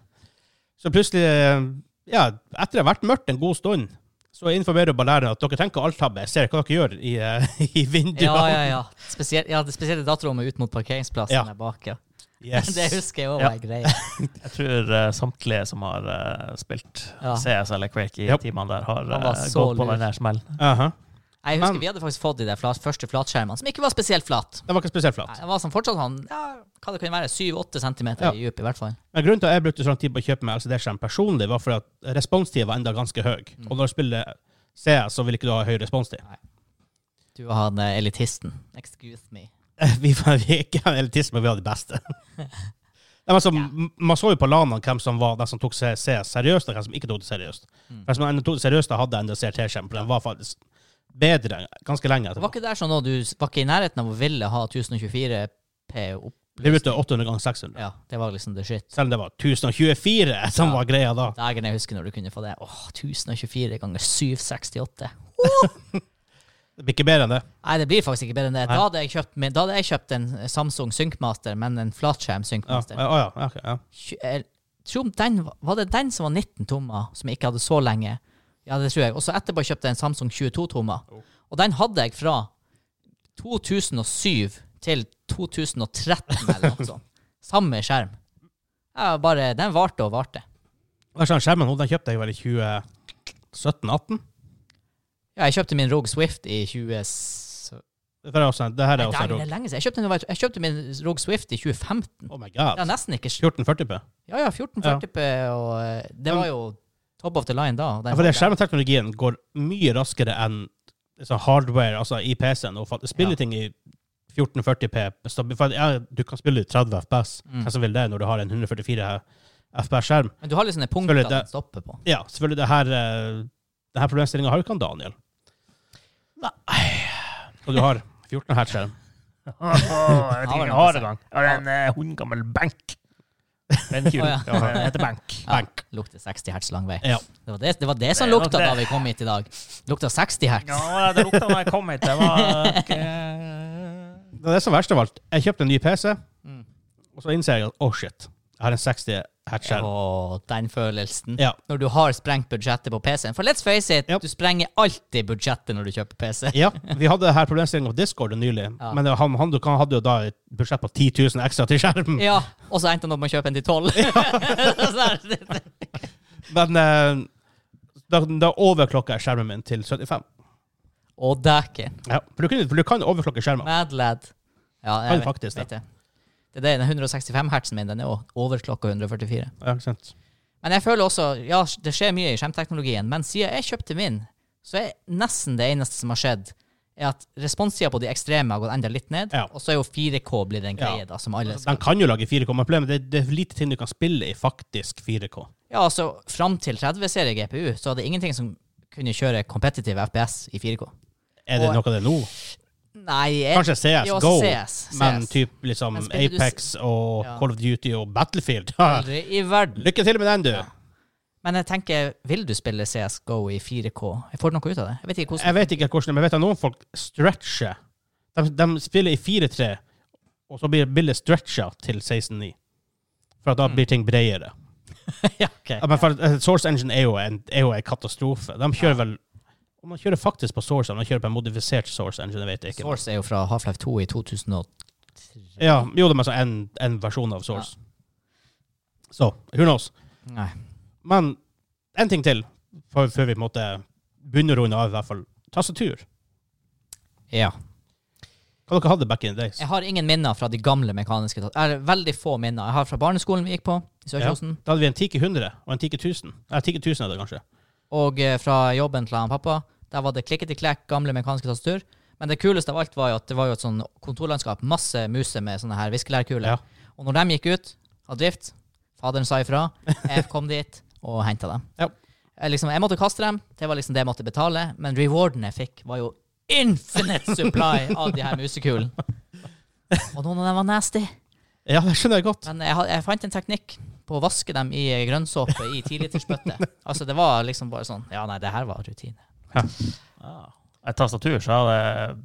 Speaker 1: Så plutselig, ja, etter det har vært mørkt en god stund, så informerer bare læreren at dere tenker alltabbe. Jeg ser hva dere gjør i, eh, [laughs] i vinduene.
Speaker 2: Ja, ja, ja. Spesielt, ja, det spesielle datarommet ut mot parkeringsplassen
Speaker 1: Ja.
Speaker 2: der bak, ja.
Speaker 1: Yes.
Speaker 2: [laughs] Det husker jeg òg
Speaker 3: Ja.
Speaker 2: var en greie.
Speaker 3: Jeg tror eh, samtlige som har eh, spilt
Speaker 2: Ja.
Speaker 3: CS eller Quake i
Speaker 1: Yep.
Speaker 3: timene der, har
Speaker 2: Han
Speaker 3: eh,
Speaker 2: var
Speaker 3: gått
Speaker 2: så
Speaker 3: på
Speaker 2: lur.
Speaker 3: den
Speaker 2: [laughs]
Speaker 3: der smellen.
Speaker 1: Aha.
Speaker 2: Jeg husker
Speaker 1: Men-
Speaker 2: vi hadde faktisk fått de der flat, første flatskjermene, som ikke var spesielt flat.
Speaker 1: Det var ikke spesielt
Speaker 2: Nei,
Speaker 1: flatt.
Speaker 2: Det var sånn fortsatt sånn, ja, hva det kunne være, 7-8 cm
Speaker 1: Ja.
Speaker 2: i dyp i hvert fall.
Speaker 1: Men grunnen til at jeg brukte sånn tid på å kjøpe meg LCD-skjerm personlig, var fordi at responstida var enda ganske høy.
Speaker 2: Mm.
Speaker 1: Og når du spiller CS, så vil ikke du ha høy responstid. [laughs]
Speaker 2: Du og han eh, elitisten. Excuse me.
Speaker 1: Vi var vi er ikke elitist, men vi var de
Speaker 2: [laughs]
Speaker 1: beste. Nei, men så, Man så jo på lanene hvem som var de som tok CS seriøst, og hvem som ikke tok det seriøst.
Speaker 2: Mm.
Speaker 1: For Hvis man tok det seriøst, da hadde jeg enda CRT-skjerm, for den var faktisk bedre ganske lenge
Speaker 2: Var
Speaker 1: etterpå.
Speaker 2: ikke det sånn at du var ikke i nærheten av å ville ha 1024P opp?
Speaker 1: Det ble 800 ganger 600.
Speaker 2: Ja, det var liksom the shit.
Speaker 1: Selv om det var 1024 [laughs] som
Speaker 2: Ja.
Speaker 1: var greia da.
Speaker 2: Dagen jeg husker når du kunne få det. Åh, 1024 ganger 768.
Speaker 1: Det blir ikke bedre enn det.
Speaker 2: Nei, det blir faktisk ikke bedre enn det.
Speaker 1: Nei.
Speaker 2: Da hadde jeg kjøpt, min- da hadde jeg kjøpt en Samsung Syncmaster, men en flatskjerm
Speaker 1: Ja,
Speaker 2: Syncmaster.
Speaker 1: ja, ja, ja, ok, ja.
Speaker 2: Tj- jeg tror om eh, den, var- var det den som var 19 tommer, som jeg ikke hadde så lenge? Ja, det tror jeg. Og så etterpå kjøpte jeg en Samsung 22 tommer. Og den hadde jeg fra 2007 til 2013 eller noe
Speaker 1: [laughs]
Speaker 2: sånt. Samme skjerm. Ja, bare, den varte og varte.
Speaker 1: Hva er sånn Skjermen hun, den kjøpte jeg vel i 2017-18.
Speaker 2: Ja, jeg kjøpte min Rogue Swift i 20... s-
Speaker 1: Det her er også en- det her er
Speaker 2: Nei, det
Speaker 1: også
Speaker 2: er
Speaker 1: en
Speaker 2: det
Speaker 1: rog.
Speaker 2: er lenge siden. Jeg kjøpte, den- jeg kjøpte min Rogue Swift i 2015.
Speaker 1: Oh my
Speaker 2: Det er
Speaker 1: god.
Speaker 2: nesten ikke... s-
Speaker 1: 1440p.
Speaker 2: Ja, ja, 1440p, og eh, det var jo top of the line da. og den
Speaker 1: Ja, for det
Speaker 2: holdt jeg.
Speaker 1: skjermteknologien går mye raskere enn liksom, hardware, altså i PC-en, og faktisk spiller
Speaker 2: Ja.
Speaker 1: ting i 1440p. Så, for, ja, du kan spille i 30 FPS.
Speaker 2: Mm.
Speaker 1: Hvem som vil det når du har en 144 FPS-skjerm?
Speaker 2: Men du har litt sånne punkter
Speaker 1: Selvfølgelig, det-
Speaker 2: den stopper på.
Speaker 1: Ja, selvfølgelig. det her, eh, det her problemstillinga har jo ikke han Daniel. Og du har 14 hertz skjerm.
Speaker 3: Åh, jeg vet ikke hva jeg har engang. Jeg har
Speaker 2: Ja.
Speaker 3: en eh, hundgammel [laughs] benk. Benkkul.
Speaker 2: Å,
Speaker 3: ja. Den heter benk.
Speaker 2: [laughs] Ja, lukter 60 hertz lang vei.
Speaker 1: Ja.
Speaker 2: Det var det, det, var det som
Speaker 3: Det er nok
Speaker 2: lukta
Speaker 3: det.
Speaker 2: da vi kom hit i dag. Lukta 60 hertz.
Speaker 3: Ja, det lukta da jeg kom hit. Det var eh,
Speaker 2: [laughs]
Speaker 3: ikke-
Speaker 1: Det er det som er verst av alt. Jeg kjøpte en ny PC,
Speaker 2: Mm.
Speaker 1: og så innser jeg at oh shit, jeg har en 60 hertz skjerm.
Speaker 2: Å, den følelsen.
Speaker 1: Ja.
Speaker 2: Når du har sprengt budsjettet på PC-en. For let's face it,
Speaker 1: Ja.
Speaker 2: du sprenger alltid budsjettet når du kjøper PC.
Speaker 1: Ja, vi hadde her problemstillinga på Discord nylig,
Speaker 2: Ja.
Speaker 1: men det var han, han, han hadde jo da et budsjett på 10 000 ekstra til skjerm.
Speaker 2: Ja, og så endte han opp med å kjøpe en til 12. [laughs] Sånn her.
Speaker 1: Men eh, da, da overklokka jeg skjermen min til 75.
Speaker 2: Å, dæken.
Speaker 1: Ja, for, du kunne, for du kan overklokke skjermen.
Speaker 2: Mad lad. Ja,
Speaker 1: Kan
Speaker 2: jeg vet,
Speaker 1: faktisk det.
Speaker 2: vet det. Det er det, den 165 hertsen min, den er også over klokka 144.
Speaker 1: Ja, ikke sant?
Speaker 2: Men jeg føler også Ja, det skjer mye i skjermteknologien, men siden jeg kjøpte min, så er nesten det eneste som har skjedd, er at responstida på de ekstreme har gått enda litt ned,
Speaker 1: Ja.
Speaker 2: og så er jo 4K blitt en greie, da, som alle
Speaker 1: Den
Speaker 2: skal
Speaker 1: kan jo lage 4K, men problemet er det, det er lite ting du kan spille i faktisk 4K.
Speaker 2: Ja, altså, fram til 30-serie GPU, så hadde ingenting som kunne kjøre competitive FPS i 4K.
Speaker 1: Er det
Speaker 2: Og- eh,
Speaker 1: noe av det nå?
Speaker 2: Nei, jeg,
Speaker 1: Kanskje CS
Speaker 2: jo,
Speaker 1: Go,
Speaker 2: CS,
Speaker 1: men
Speaker 2: CS.
Speaker 1: typ liksom
Speaker 2: Men spiller du s-
Speaker 1: Apex og
Speaker 2: Ja.
Speaker 1: Call of Duty og Battlefield. [laughs] Ja.
Speaker 2: aldri i verden.
Speaker 1: Lykke til med den, du.
Speaker 2: Ja. Men jeg tenker, vil du spille CS GO i 4K? Jeg får noe ut av det. Jeg vet ikke hvordan
Speaker 1: Jeg vet ikke hvordan, men jeg vet at noen folk stretcher. De, de spiller i 4-3, og så blir bildet stretcha til 16-9. For at da blir ting bredere.
Speaker 2: ja, ok.
Speaker 1: [laughs] Ja, men for, eh, Source Engine er jo en, er jo en katastrofe. De kjører vel om Man kjører faktisk på Source, men man kjører på en modifisert Source Engine. Jeg vet ikke.
Speaker 2: Source er jo fra Half-Life 2 i 2008.
Speaker 1: Ja, jo, det er altså en, en versjon av Source. Så who knows?
Speaker 2: Nei.
Speaker 1: Men en ting til før, før vi på en måte begynner å runde av, i hvert fall. Tastatur.
Speaker 2: Ja.
Speaker 1: Hva dere hadde back in the days?
Speaker 2: Jeg har ingen minner fra de gamle mekaniske tat- Eller veldig få minner. Jeg har fra barneskolen vi gikk på, i Sørkjosen,
Speaker 1: Da hadde vi en Tiki 100 og en Tiki 1000. Nei, Tiki 1000 er det kanskje.
Speaker 2: og eh, fra jobben til han pappa. Der var det klikketi-klekk, gamle mekaniske tastatur. Men det kuleste av alt var jo at det var jo et sånn kontorlandskap, masse muser med sånne her viskelærkuler.
Speaker 1: Ja.
Speaker 2: Og når de gikk ut av drift, faderen sa ifra, jeg kom dit og henta dem.
Speaker 1: Ja.
Speaker 2: Jeg, liksom, jeg måtte kaste dem, det var liksom det jeg måtte betale, men rewarden jeg fikk, var jo infinite supply av de
Speaker 1: [laughs]
Speaker 2: her musekulene. Og noen av dem var nasty.
Speaker 1: Ja, det skjønner jeg godt.
Speaker 2: Men eh, jeg, ha- jeg fant en teknikk på å vaske dem i eh, grønnsåpe i tilitersbøtte.
Speaker 1: [laughs]
Speaker 2: altså, det var liksom bare sånn Ja, nei, det her var rutine.
Speaker 3: Ja. Ah. Et tastatur, så har det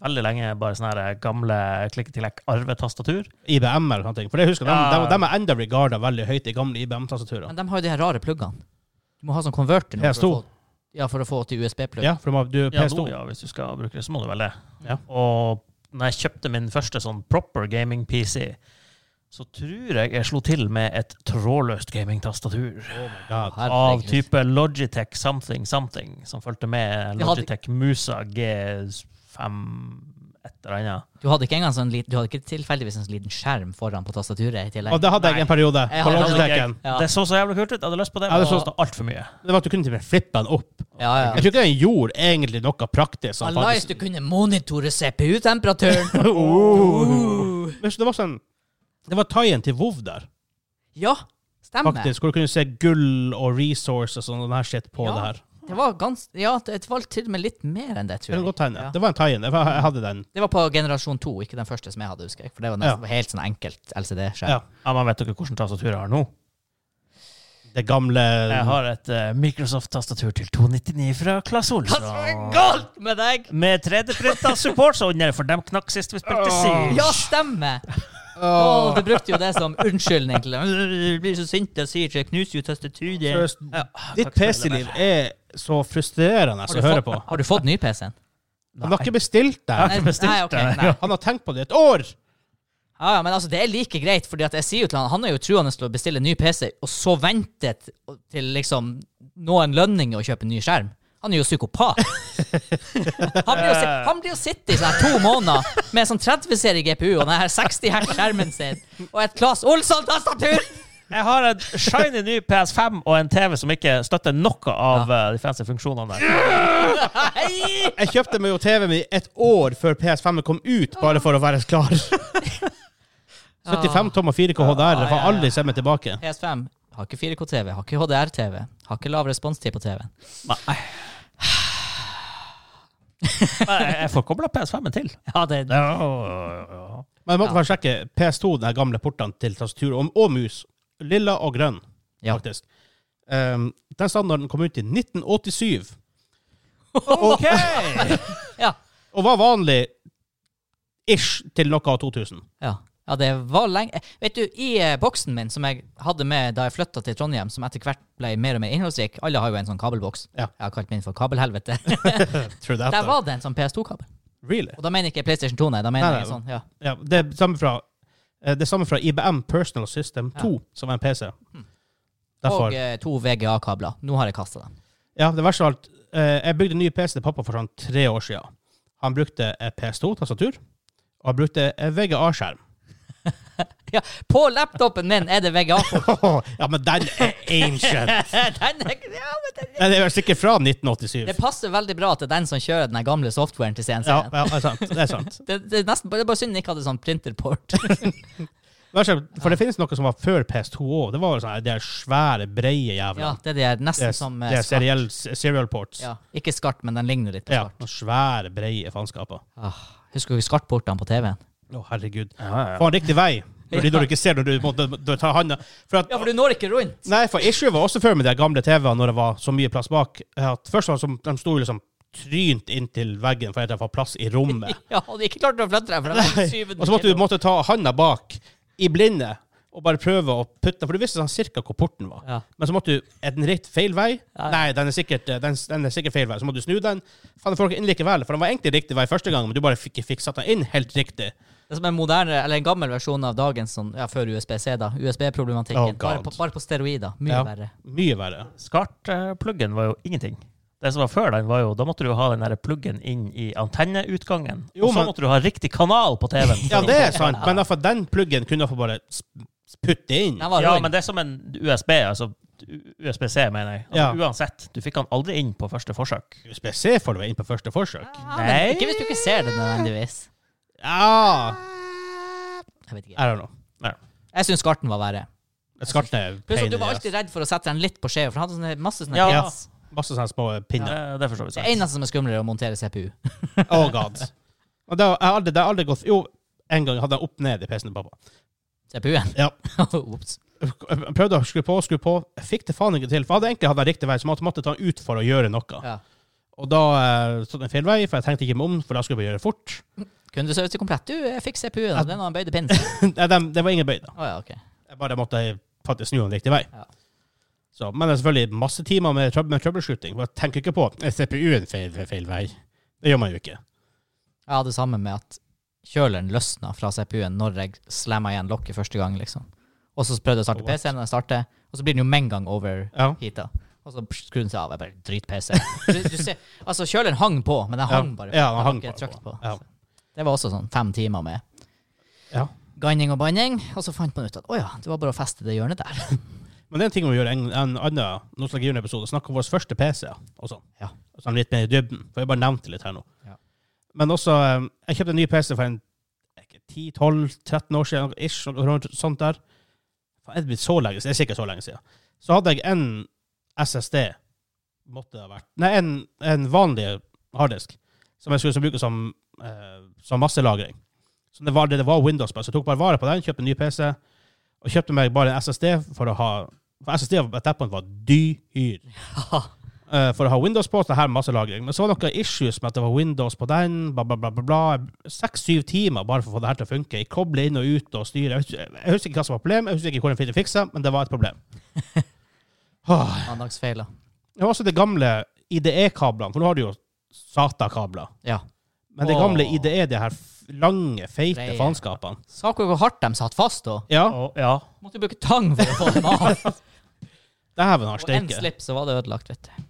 Speaker 3: veldig lenge bare sånne her gamle klikketillegg-arvetastatur.
Speaker 1: IBM eller sånne ting. For det husker jeg, de, de,
Speaker 3: Ja.
Speaker 1: de er enda regarda veldig høyt i gamle IBM-tastaturene.
Speaker 2: Men de har jo de her rare pluggene. Du må ha sånn konverter nå
Speaker 1: PS2.
Speaker 2: for å, få, ja, for å få til USB-plugg.
Speaker 1: Ja, for de har- du
Speaker 3: Ja,
Speaker 1: PS2.
Speaker 3: nå, ja, hvis du skal bruke det, så må du vel det.
Speaker 1: Ja.
Speaker 3: Og når jeg kjøpte min første sånn proper gaming-PC, så tror jeg jeg slo til med et trådløst gamingtastatur.
Speaker 1: Oh my god.
Speaker 3: Av type Logitech something something, som fulgte med
Speaker 2: De hadde-
Speaker 3: Logitech Musa G5 et et eller annet.
Speaker 2: Du hadde ikke engang sånn liten, du hadde ikke tilfeldigvis en sånn liten skjerm foran på tastaturet i
Speaker 1: Og
Speaker 2: tillegg?
Speaker 1: det hadde jeg en periode. på
Speaker 2: Jeg hadde-
Speaker 1: launchteken.
Speaker 2: Ja.
Speaker 3: Det så så jævlig kult ut. Jeg hadde lyst på det,
Speaker 1: Ja,
Speaker 3: men
Speaker 1: det
Speaker 3: det
Speaker 1: så-
Speaker 3: kosta altfor mye.
Speaker 1: Det var at du kunne til og med flippe den opp.
Speaker 2: Ja,
Speaker 1: Jeg
Speaker 2: ja.
Speaker 1: tror ikke den gjorde egentlig noe praktisk. Sånn,
Speaker 2: Allais,
Speaker 1: faktisk.
Speaker 2: du kunne monitore
Speaker 1: [laughs]
Speaker 2: CPU-temperaturen!
Speaker 1: Oh. Men så Det var sånn Det var tie-in til WoW der,
Speaker 2: Ja, stemmer.
Speaker 1: faktisk. Hvor du kunne se gull og resources og sånn her shit på
Speaker 2: Ja.
Speaker 1: det her.
Speaker 2: Det var gans... Ja, det var til og med litt mer enn
Speaker 1: Det,
Speaker 2: det, tror
Speaker 1: kan
Speaker 2: jeg.
Speaker 1: godt hende.
Speaker 2: Ja.
Speaker 1: det var en tie-in. Jeg var- Jeg hadde den.
Speaker 2: Det var på generasjon to, ikke den første som jeg hadde, husker jeg. For det var nesten helt sånn enkelt LCD-skjerm.
Speaker 1: Ja.
Speaker 3: Ja, men vet dere hvilket tastatur jeg har nå?
Speaker 1: Det gamle
Speaker 3: Jeg har et eh, Microsoft-tastatur til 299 fra Claes
Speaker 2: Hva som er
Speaker 3: Olsson.
Speaker 2: galt med deg?!
Speaker 3: Med 3D-printa support så under, for dem knakk sist vi spilte Siege.
Speaker 2: Ja, stemmer! Å, du brukte jo det som unnskyldning til Du blir så sint og sier jeg knuser jo tastaturet.
Speaker 1: Seriøst,
Speaker 3: Ja,
Speaker 1: Ditt
Speaker 3: takk skal du
Speaker 1: PC-liv er så frustrerende
Speaker 2: Har
Speaker 1: å
Speaker 2: du
Speaker 1: høre
Speaker 2: fått-
Speaker 1: på.
Speaker 2: Har du fått ny PC-en?
Speaker 1: Han har ikke bestilt
Speaker 3: Jeg
Speaker 1: det.
Speaker 3: har
Speaker 2: Nei,
Speaker 3: ikke bestilt
Speaker 2: nei, ok,
Speaker 3: det.
Speaker 2: nei.
Speaker 1: Han har tenkt på det i et år!
Speaker 2: Ja, ja, men altså, det er like greit, fordi at jeg sier jo til han, han er jo truende til å bestille ny PC, og så vente t- til liksom nå en lønning og kjøpe en ny skjerm. Han er jo
Speaker 3: [laughs]
Speaker 2: psykopat. Han blir jo, si- han blir jo sitte i sånn her to måneder med sånn 30-serie GPU og den her 60 hertz skjermen sin, og et Claes Olsson-tastatur! [laughs]
Speaker 3: Jeg har en shiny ny PS5 og en TV som ikke støtter noe av eh, de fancy funksjonene der.
Speaker 2: Nei!
Speaker 1: Jeg kjøpte meg jo TV-en min et år før PS5 kom ut, bare for å være
Speaker 2: [laughs]
Speaker 1: klar. 75 tommer 4K HDR. Jeg
Speaker 2: Ja, ja,
Speaker 1: får
Speaker 2: ja.
Speaker 1: aldri se meg tilbake.
Speaker 2: PS5 har ikke 4K-TV, har ikke HDR-TV, har ikke lav responstid på TV-en.
Speaker 3: Men jeg- jeg får kobla PS5-en til.
Speaker 2: Ja, det er
Speaker 3: Ja, ja, ja.
Speaker 1: Men jeg måtte bare sjekke PS2, den her gamle portene til tastatur og, og mus. Lilla og grønn,
Speaker 2: Ja.
Speaker 1: faktisk. Um, den standarden kom ut i 1987,
Speaker 3: OK!
Speaker 2: [laughs] Ja.
Speaker 1: og var vanlig ish til noe av 2000.
Speaker 2: Ja. ja, det var lenge Vet du, i eh, boksen min som jeg hadde med da jeg flytta til Trondheim, som etter hvert ble mer og mer innholdsrik Alle har jo en sånn kabelboks.
Speaker 1: Ja.
Speaker 2: Jeg har kalt min for [laughs] kabelhelvete.
Speaker 1: Tror det
Speaker 2: Der var det en sånn PS2-kabel.
Speaker 1: Really?
Speaker 2: Og da mener jeg ikke PlayStation 2, nei. Da mener
Speaker 1: Nei,
Speaker 2: jeg
Speaker 1: nei.
Speaker 2: sånn, ja.
Speaker 1: Ja, det er samme fra eh, Det er samme fra IBM Personal System 2, som var en PC. Derfor.
Speaker 2: Hm. Og eh, to VGA-kabler. Nå har jeg kasta dem. [laughs]
Speaker 1: Ja, det verste av alt eh, Jeg bygde en ny PC til pappa for sånn tre år siden. Han brukte eh, PS2-tastatur, og han brukte eh, VGA-skjerm.
Speaker 2: Ja, på laptopen min er det VGA-kabel.
Speaker 1: [laughs] ja, men den er ancient!
Speaker 2: Den er ikke- [laughs] ja, men den-
Speaker 1: Nei, det er vel sikkert fra 1987.
Speaker 2: det passer veldig bra til den som kjører den her gamle softwaren til CNC.
Speaker 1: Ja,
Speaker 2: en
Speaker 1: ja, det er sant. Det er sant.
Speaker 2: Det, det, er nesten, bare- det er bare synd den ikke hadde sånn printerport. [laughs]
Speaker 1: Vær så god, For det finnes noe som var før PS2 òg. Det var jo sånn de her svære, breie jævla
Speaker 2: Ja, det er de her, nesten
Speaker 1: Det er,
Speaker 2: som eh,
Speaker 1: det er
Speaker 2: skart.
Speaker 1: seriell, serial ports.
Speaker 2: Ja, ikke skart, men den ligner litt på
Speaker 1: Ja,
Speaker 2: skart.
Speaker 1: noen svære, breie faenskaper.
Speaker 2: Ah, husker du skartportene på TV-en?
Speaker 1: Å, herregud.
Speaker 3: Ja, ja.
Speaker 1: Få en riktig vei. Fordi når du ikke ser når du, må- du, du tar handa for at,
Speaker 2: Ja, for du når ikke rundt.
Speaker 1: Nei, for issue var også før med de gamle TV-ene når det var så mye plass bak. At først var det som, de sto jo liksom trynt inntil veggen for at det var plass i
Speaker 2: [laughs]
Speaker 1: rommet.
Speaker 2: Ja, og ikke klarte å flytte deg, for det var 700
Speaker 1: Og så måtte du
Speaker 2: kilo.
Speaker 1: måtte ta handa bak i blinde og bare prøve å putte For du visste sånn cirka hvor porten var.
Speaker 2: Ja.
Speaker 1: Men så måtte du Er den rett feil vei?
Speaker 2: Ja.
Speaker 1: Nei, den er, sikkert, eh, den, den er sikkert feil vei. Så måtte du snu den. Faen, folk er inn likevel. For den var egentlig riktig vei første gang, men du bare fikk ikke fikk satt den inn helt riktig.
Speaker 2: Det er som en moderne, eller en gammel versjon av dagens sånn, ja, før USBC, da.
Speaker 1: Oh,
Speaker 2: USB-problematikken.
Speaker 1: God.
Speaker 2: bare, på, bare på steroider. Mye
Speaker 1: Ja.
Speaker 2: verre.
Speaker 1: Mye verre.
Speaker 3: Skart-pluggen var jo ingenting. Det som var før den, var jo Da måtte du jo ha den der pluggen inn i antenneutgangen.
Speaker 1: Jo,
Speaker 3: og så
Speaker 1: men-
Speaker 3: måtte du ha riktig kanal på
Speaker 1: [laughs]
Speaker 3: TV-en.
Speaker 1: Ja, det er sant, men derfor den pluggen kunne du få bare sp- putte inn.
Speaker 2: Den var
Speaker 3: Ja,
Speaker 2: rund.
Speaker 3: men det er som en USB. Altså USBC, mener jeg. Altså,
Speaker 1: Ja.
Speaker 3: Uansett. Du fikk han aldri inn på første forsøk.
Speaker 1: USBC får du inn på første forsøk.
Speaker 2: ja, men
Speaker 3: Nei.
Speaker 2: ikke hvis du ikke ser det nødvendigvis.
Speaker 1: Ja
Speaker 2: Jeg vet ikke.
Speaker 1: I don't know.
Speaker 3: Nei.
Speaker 2: Jeg syns skarten var verre.
Speaker 1: Skarten er
Speaker 2: Pluss at
Speaker 1: pain
Speaker 2: du
Speaker 1: in
Speaker 2: var
Speaker 1: the ass.
Speaker 2: alltid redd for å sette den litt på skjeva, for han hadde sånne, masse sånne
Speaker 3: Ja.
Speaker 2: pins.
Speaker 1: Masse sånne små pinner.
Speaker 3: Det, det forstår vi
Speaker 2: Det
Speaker 3: sant.
Speaker 2: eneste som er skumlere, er å montere CPU. [laughs]
Speaker 1: Oh god. Og det har jeg aldri, det har aldri gått Jo, en gang hadde jeg opp ned i PC-en til pappa.
Speaker 2: CPU-en.
Speaker 1: Ja.
Speaker 2: [laughs] Ops.
Speaker 1: Jeg prøvde å skru på, skru på. Jeg fikk det faen ikke til. For jeg hadde egentlig hatt den riktige vei, så jeg måtte ta den ut for å gjøre noe.
Speaker 2: Ja.
Speaker 1: Og da eh, stod den feil vei, for jeg tenkte ikke meg om, for da skulle jeg bare gjøre det fort. [laughs]
Speaker 2: Kunne du så ut til komplett? Du, jeg fikk CPU-en, og den har en bøyd pins. Å
Speaker 1: Nei, dem- det var ingen bøy, da.
Speaker 2: ja, ok.
Speaker 1: Jeg bare måtte faktisk snu den riktig vei.
Speaker 2: Ja.
Speaker 1: Så, men det er selvfølgelig masse timer med, trøb med troubleshooting. for Jeg tenker ikke på er CPU-en feil, feil vei. Det gjør man jo ikke.
Speaker 2: Jeg hadde samme med at kjøleren løsna fra CPU-en når jeg slamma igjen lokket første gang, liksom. Og så prøvde jeg å starte
Speaker 1: What?
Speaker 2: PC-en, og jeg starter, og så blir den jo med en gang over
Speaker 1: Ja.
Speaker 2: heata. Og så skrur den seg av. Jeg bare drit PC. Du, du ser, altså, kjøleren hang på, men den hang bare
Speaker 1: Ja, den hang
Speaker 2: var ikke
Speaker 1: bare
Speaker 2: trykt
Speaker 1: på.
Speaker 2: på.
Speaker 1: Ja.
Speaker 2: Så Det var også sånn fem timer med
Speaker 1: Ja.
Speaker 2: ganning og banning. Og så fant man ut at å ja, det var bare å feste det hjørnet
Speaker 1: [laughs]
Speaker 2: der.
Speaker 1: Men det er en ting vi må gjøre en, en annen nostalgieepisode. Snakke om vår første PC og sånn.
Speaker 2: Ja.
Speaker 1: Sånn litt mer i dybden. For jeg bare nevnte litt her nå.
Speaker 2: Ja.
Speaker 1: Men også eh, Jeg kjøpte en ny PC for en 10-12-13 år siden, ish, noe rundt- sånt der. Faen, Er det blitt så lenge siden? Det er sikkert så lenge siden. Så hadde jeg en SSD Måtte det ha vært Nei, en, en vanlig harddisk som jeg skulle bruke som, eh, som masselagring. Så det var det det var Windows på. Så jeg tok bare vare på den, kjøpte en ny PC, og kjøpte meg bare en SSD for å ha For SSD på et tidspunkt var
Speaker 2: [laughs]
Speaker 1: dyr. Eh, for å ha Windows på, så det her er masse lagring. Men så var det noen issues med at det var Windows på den, bla, bla, bla. bla, bla. Seks-syv timer bare for å få det her til å funke. Jeg kobler inn og ut og styrer. Jeg husker, jeg husker ikke hva som var problemet, jeg husker ikke hvordan jeg fikk det fiksa, men det var et
Speaker 2: [laughs]
Speaker 1: problem. Åh.
Speaker 2: Mandagsfeiler.
Speaker 1: Det var også det gamle IDE-kablene, for nå har du jo SATA-kabler.
Speaker 2: Ja.
Speaker 1: Men det gamle
Speaker 2: Åh.
Speaker 1: IDE, de her f- lange, feite
Speaker 2: Breie.
Speaker 1: faenskapene.
Speaker 2: Sa dere hvor hardt de satt fast da?
Speaker 1: Ja,
Speaker 3: Og, ja.
Speaker 2: Måtte jo bruke tang for å få dem av.
Speaker 1: dæven har
Speaker 2: Og en
Speaker 1: steike.
Speaker 2: slipp, så var det ødelagt, vet du.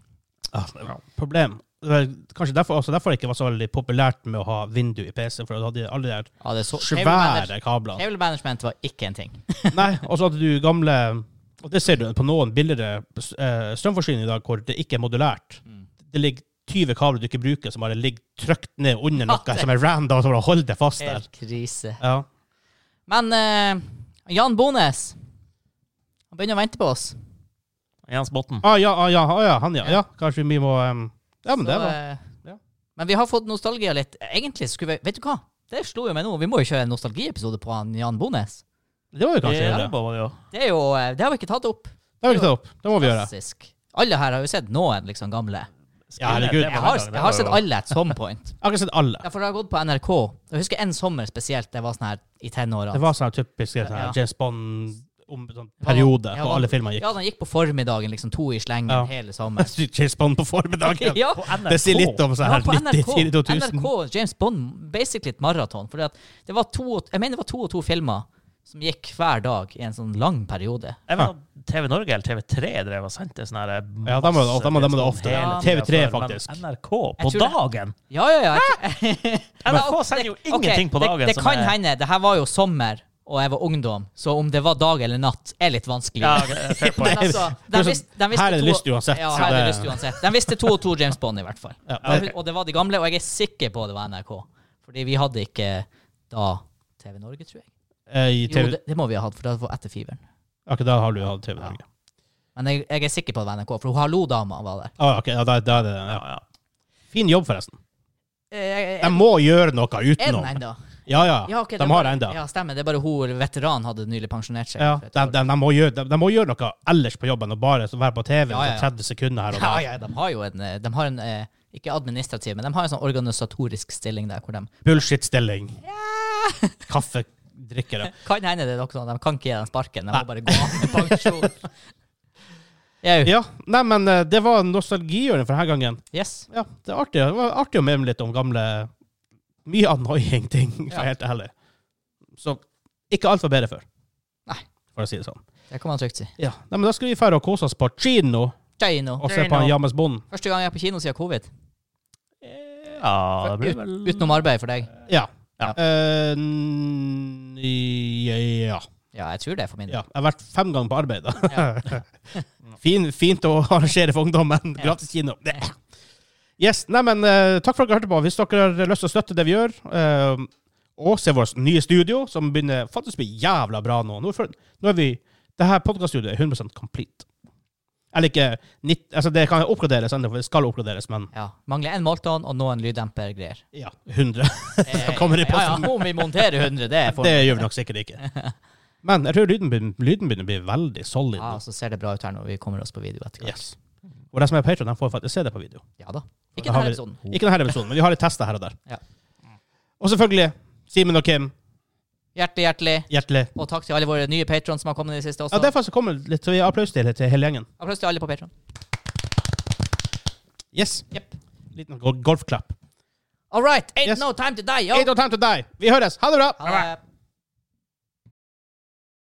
Speaker 2: Ah.
Speaker 1: Ja, det var et Problem. Det var Kanskje derfor, også derfor det ikke var så veldig populært med å ha vindu i PC, for da hadde de alle de der
Speaker 2: Ja, det er så Cable
Speaker 1: svære kablene.
Speaker 2: manage- Cable management var ikke en ting.
Speaker 1: Nei, og så hadde du gamle Og det ser du på noen billigere eh, strømforsyninger i dag hvor det ikke er modulært.
Speaker 2: Mm.
Speaker 1: Det ligger 20 kabler du ikke bruker, som bare ligger trykt ned under noe
Speaker 2: Ja, Ah, det-
Speaker 1: som er random, som bare holder det fast der.
Speaker 2: Helt krise.
Speaker 1: Ja.
Speaker 2: Men eh, Jan Bones Han begynner å vente på oss.
Speaker 3: Jens Botten.
Speaker 1: Ah, ja, ah, ja, ah, ja, han, ja. ja. Kanskje vi må ehm, Ja, men
Speaker 2: Så,
Speaker 1: det var
Speaker 2: eh,
Speaker 1: ja.
Speaker 2: Men vi har fått nostalgia litt. Egentlig skulle vi Vet du hva? Det slo jo meg nå. Vi må jo kjøre en nostalgiepisode på han Jan Bones.
Speaker 1: Det var jo kanskje
Speaker 3: Ja,
Speaker 1: det.
Speaker 3: det var jo.
Speaker 2: Det er jo eh, Det har vi ikke tatt opp.
Speaker 1: Det har vi ikke tatt opp. Det må vi gjøre.
Speaker 2: Klassisk. Alle her har jo sett noen liksom gamle.
Speaker 1: Ja, herregud.
Speaker 3: Det var
Speaker 2: Jeg har,
Speaker 3: den
Speaker 2: jeg
Speaker 3: gangen, det var
Speaker 2: har sett
Speaker 3: jo-
Speaker 2: alle at some
Speaker 1: [laughs]
Speaker 2: point.
Speaker 1: Jeg har ikke sett alle.
Speaker 2: Ja, for det har gått på NRK. Jeg husker en sommer spesielt. Det var sånn her i
Speaker 1: Det
Speaker 2: tenårene.
Speaker 1: var sånn typisk sånn,
Speaker 2: Ja.
Speaker 1: her James Bond-periode
Speaker 2: Ja,
Speaker 1: på alle filmer gikk.
Speaker 2: Ja, den gikk på formiddagen, liksom to i slengen
Speaker 1: Ja.
Speaker 2: hele
Speaker 3: [laughs]
Speaker 2: sommeren.
Speaker 1: James Bond på formiddagen.
Speaker 2: [laughs] ja.
Speaker 3: På NRK.
Speaker 1: Det sier litt om sånn
Speaker 2: Ja,
Speaker 1: her
Speaker 2: på NRK,
Speaker 1: 90-2000.
Speaker 2: NRK James Bond, basically et maraton. Fordi at det var to, og- jeg mener det var to og to filmer som gikk hver dag i en sånn lang periode.
Speaker 3: Jeg mener, TV Norge eller TV3 drev og sendte sånne her eh,
Speaker 1: Ja, da må det-
Speaker 3: masse
Speaker 1: da må- da må det
Speaker 3: sånn
Speaker 1: ofte.
Speaker 3: hele
Speaker 1: TV3
Speaker 3: tiden før,
Speaker 1: faktisk.
Speaker 3: Men NRK på
Speaker 2: Jeg tror det-
Speaker 3: dagen?
Speaker 2: Ja, ja, ja.
Speaker 3: NRK sender jo ingenting på dagen
Speaker 2: Det, det
Speaker 3: som
Speaker 2: kan
Speaker 3: er-
Speaker 2: hende. Det her var jo sommer, og jeg var ungdom, så om det var dag eller natt, er litt vanskelig.
Speaker 3: Ja, ok,
Speaker 2: [laughs]
Speaker 3: fair point.
Speaker 2: Men altså,
Speaker 1: Det
Speaker 2: de
Speaker 1: er sånn,
Speaker 2: visste, de visste
Speaker 1: her er det
Speaker 2: to-
Speaker 1: lyst uansett,
Speaker 2: Ja,
Speaker 1: så
Speaker 2: her er det
Speaker 1: det-
Speaker 2: lyst uansett. De visste to og to James Bond, i hvert fall.
Speaker 1: Ja,
Speaker 2: Og-
Speaker 1: ok.
Speaker 2: Og det var de gamle, og jeg er sikker på det var NRK. Fordi vi hadde ikke da TV Norge, tror jeg.
Speaker 1: Eh, i
Speaker 2: Jo,
Speaker 1: TV
Speaker 2: det, det må vi ha hatt, for det var etter Fiveren.
Speaker 1: Akkurat da har du hatt TV Norge.
Speaker 2: Men jeg, jeg er sikker på at det var NRK, for hun Hallo-dama var der.
Speaker 1: Ah, ok, ja, da, da er det den,
Speaker 3: Ja,
Speaker 1: ja.
Speaker 3: ja.
Speaker 1: Fin jobb, forresten.
Speaker 2: Eh,
Speaker 1: De må gjøre noe
Speaker 2: Er den
Speaker 1: utenom.
Speaker 2: ennå?
Speaker 1: Ja, ja.
Speaker 2: Ja, ok, det
Speaker 1: de
Speaker 2: er
Speaker 1: har
Speaker 2: bare-
Speaker 1: enda.
Speaker 2: Ja, stemmer. Det er bare hun veteran hadde nylig pensjonert seg.
Speaker 1: Ja,
Speaker 2: for et
Speaker 1: de,
Speaker 2: år.
Speaker 1: de, de, må gjøre, de, de må gjøre noe ellers på jobben og bare være på TV
Speaker 2: Ja, ja, ja.
Speaker 1: for 30 sekunder her og
Speaker 2: ja,
Speaker 1: der.
Speaker 2: ja, de har jo en, eh, de har en eh, ikke administrativ, men de har en sånn organisatorisk stilling der hvor de
Speaker 1: Bullshit-stilling.
Speaker 2: [laughs]
Speaker 1: Kaffedrikkere.
Speaker 2: Kan hende det er noe sånt. De kan ikke gi dem sparken. De må bare gå av med pensjon. Jau.
Speaker 1: [laughs] Ja, nei, men eh, det var nostalgihjørnet for denne gangen.
Speaker 2: Yes.
Speaker 1: Ja, det er artig. Det var artig å mene litt om gamle Mye annoying ting, [laughs] for
Speaker 2: Ja.
Speaker 1: helt ærlig. Så ikke alt var bedre før.
Speaker 2: Nei.
Speaker 1: For å si det sånn.
Speaker 2: Det kan man trygt si.
Speaker 1: Ja, nei, men Da skal vi dra og kose oss på kino
Speaker 2: Kino.
Speaker 1: og se på en James Bond.
Speaker 2: Første gang jeg er på kino siden covid.
Speaker 3: Ja, det blir
Speaker 2: Ut,
Speaker 3: vel
Speaker 2: utenom arbeid for deg.
Speaker 1: Ja.
Speaker 2: Ja.
Speaker 1: Eh, n- ja.
Speaker 2: Ja, jeg tror det er for min del.
Speaker 1: Ja, jeg har vært fem ganger på arbeid. Da. [laughs] fin, fint å arrangere for ungdommen.
Speaker 2: Ja.
Speaker 1: Gratis kino. Det. Yes, nei, men eh, Takk for at dere hørte på. Hvis dere har lyst til å støtte det vi gjør, eh, og se vårt nye studio, som begynner faktisk å bli jævla bra nå Nå er, for, nå er vi Det her podcaststudioet er 100 complete. Eller ikke 90, altså Det kan oppgraderes ennå, for det skal oppgraderes, men
Speaker 2: Ja. Mangler en molton og noen
Speaker 1: [laughs]
Speaker 2: lyddempergreier.
Speaker 1: ja, 100. Så kommer det i
Speaker 2: ja, ja,
Speaker 1: posten.
Speaker 2: om vi monterer 100, det er
Speaker 1: [laughs]
Speaker 2: for
Speaker 1: Det gjør vi nok sikkert ikke. Men jeg tror lyden, begynner- lyden begynner å bli veldig solid.
Speaker 2: Ja,
Speaker 1: nå.
Speaker 2: så ser det bra ut her når vi kommer oss på video etter hvert.
Speaker 1: Yes. Og de som er på Patreon, de får faktisk se det på video.
Speaker 2: Ja da. Ikke
Speaker 1: Da har
Speaker 2: denne
Speaker 1: vi-
Speaker 2: episoden.
Speaker 1: Ikke denne episoden, men vi har litt tester her og der.
Speaker 2: Ja.
Speaker 1: Og selvfølgelig, Simen og Kim,
Speaker 2: Hjertelig, hjertelig.
Speaker 1: hjertelig.
Speaker 2: Og takk til alle våre nye patrons som har kommet i det siste også.
Speaker 1: Ja, det er faktisk kommet litt så vi har applaus til, til hele gjengen.
Speaker 2: Applaus til alle på Patron.
Speaker 1: Yes.
Speaker 2: Yep.
Speaker 1: Liten gol- golfklapp.
Speaker 2: All right. Ain't
Speaker 1: Yes.
Speaker 2: no time to die, yo.
Speaker 1: Ain't no time to die. Vi høres. Ha det bra.
Speaker 2: Ha det.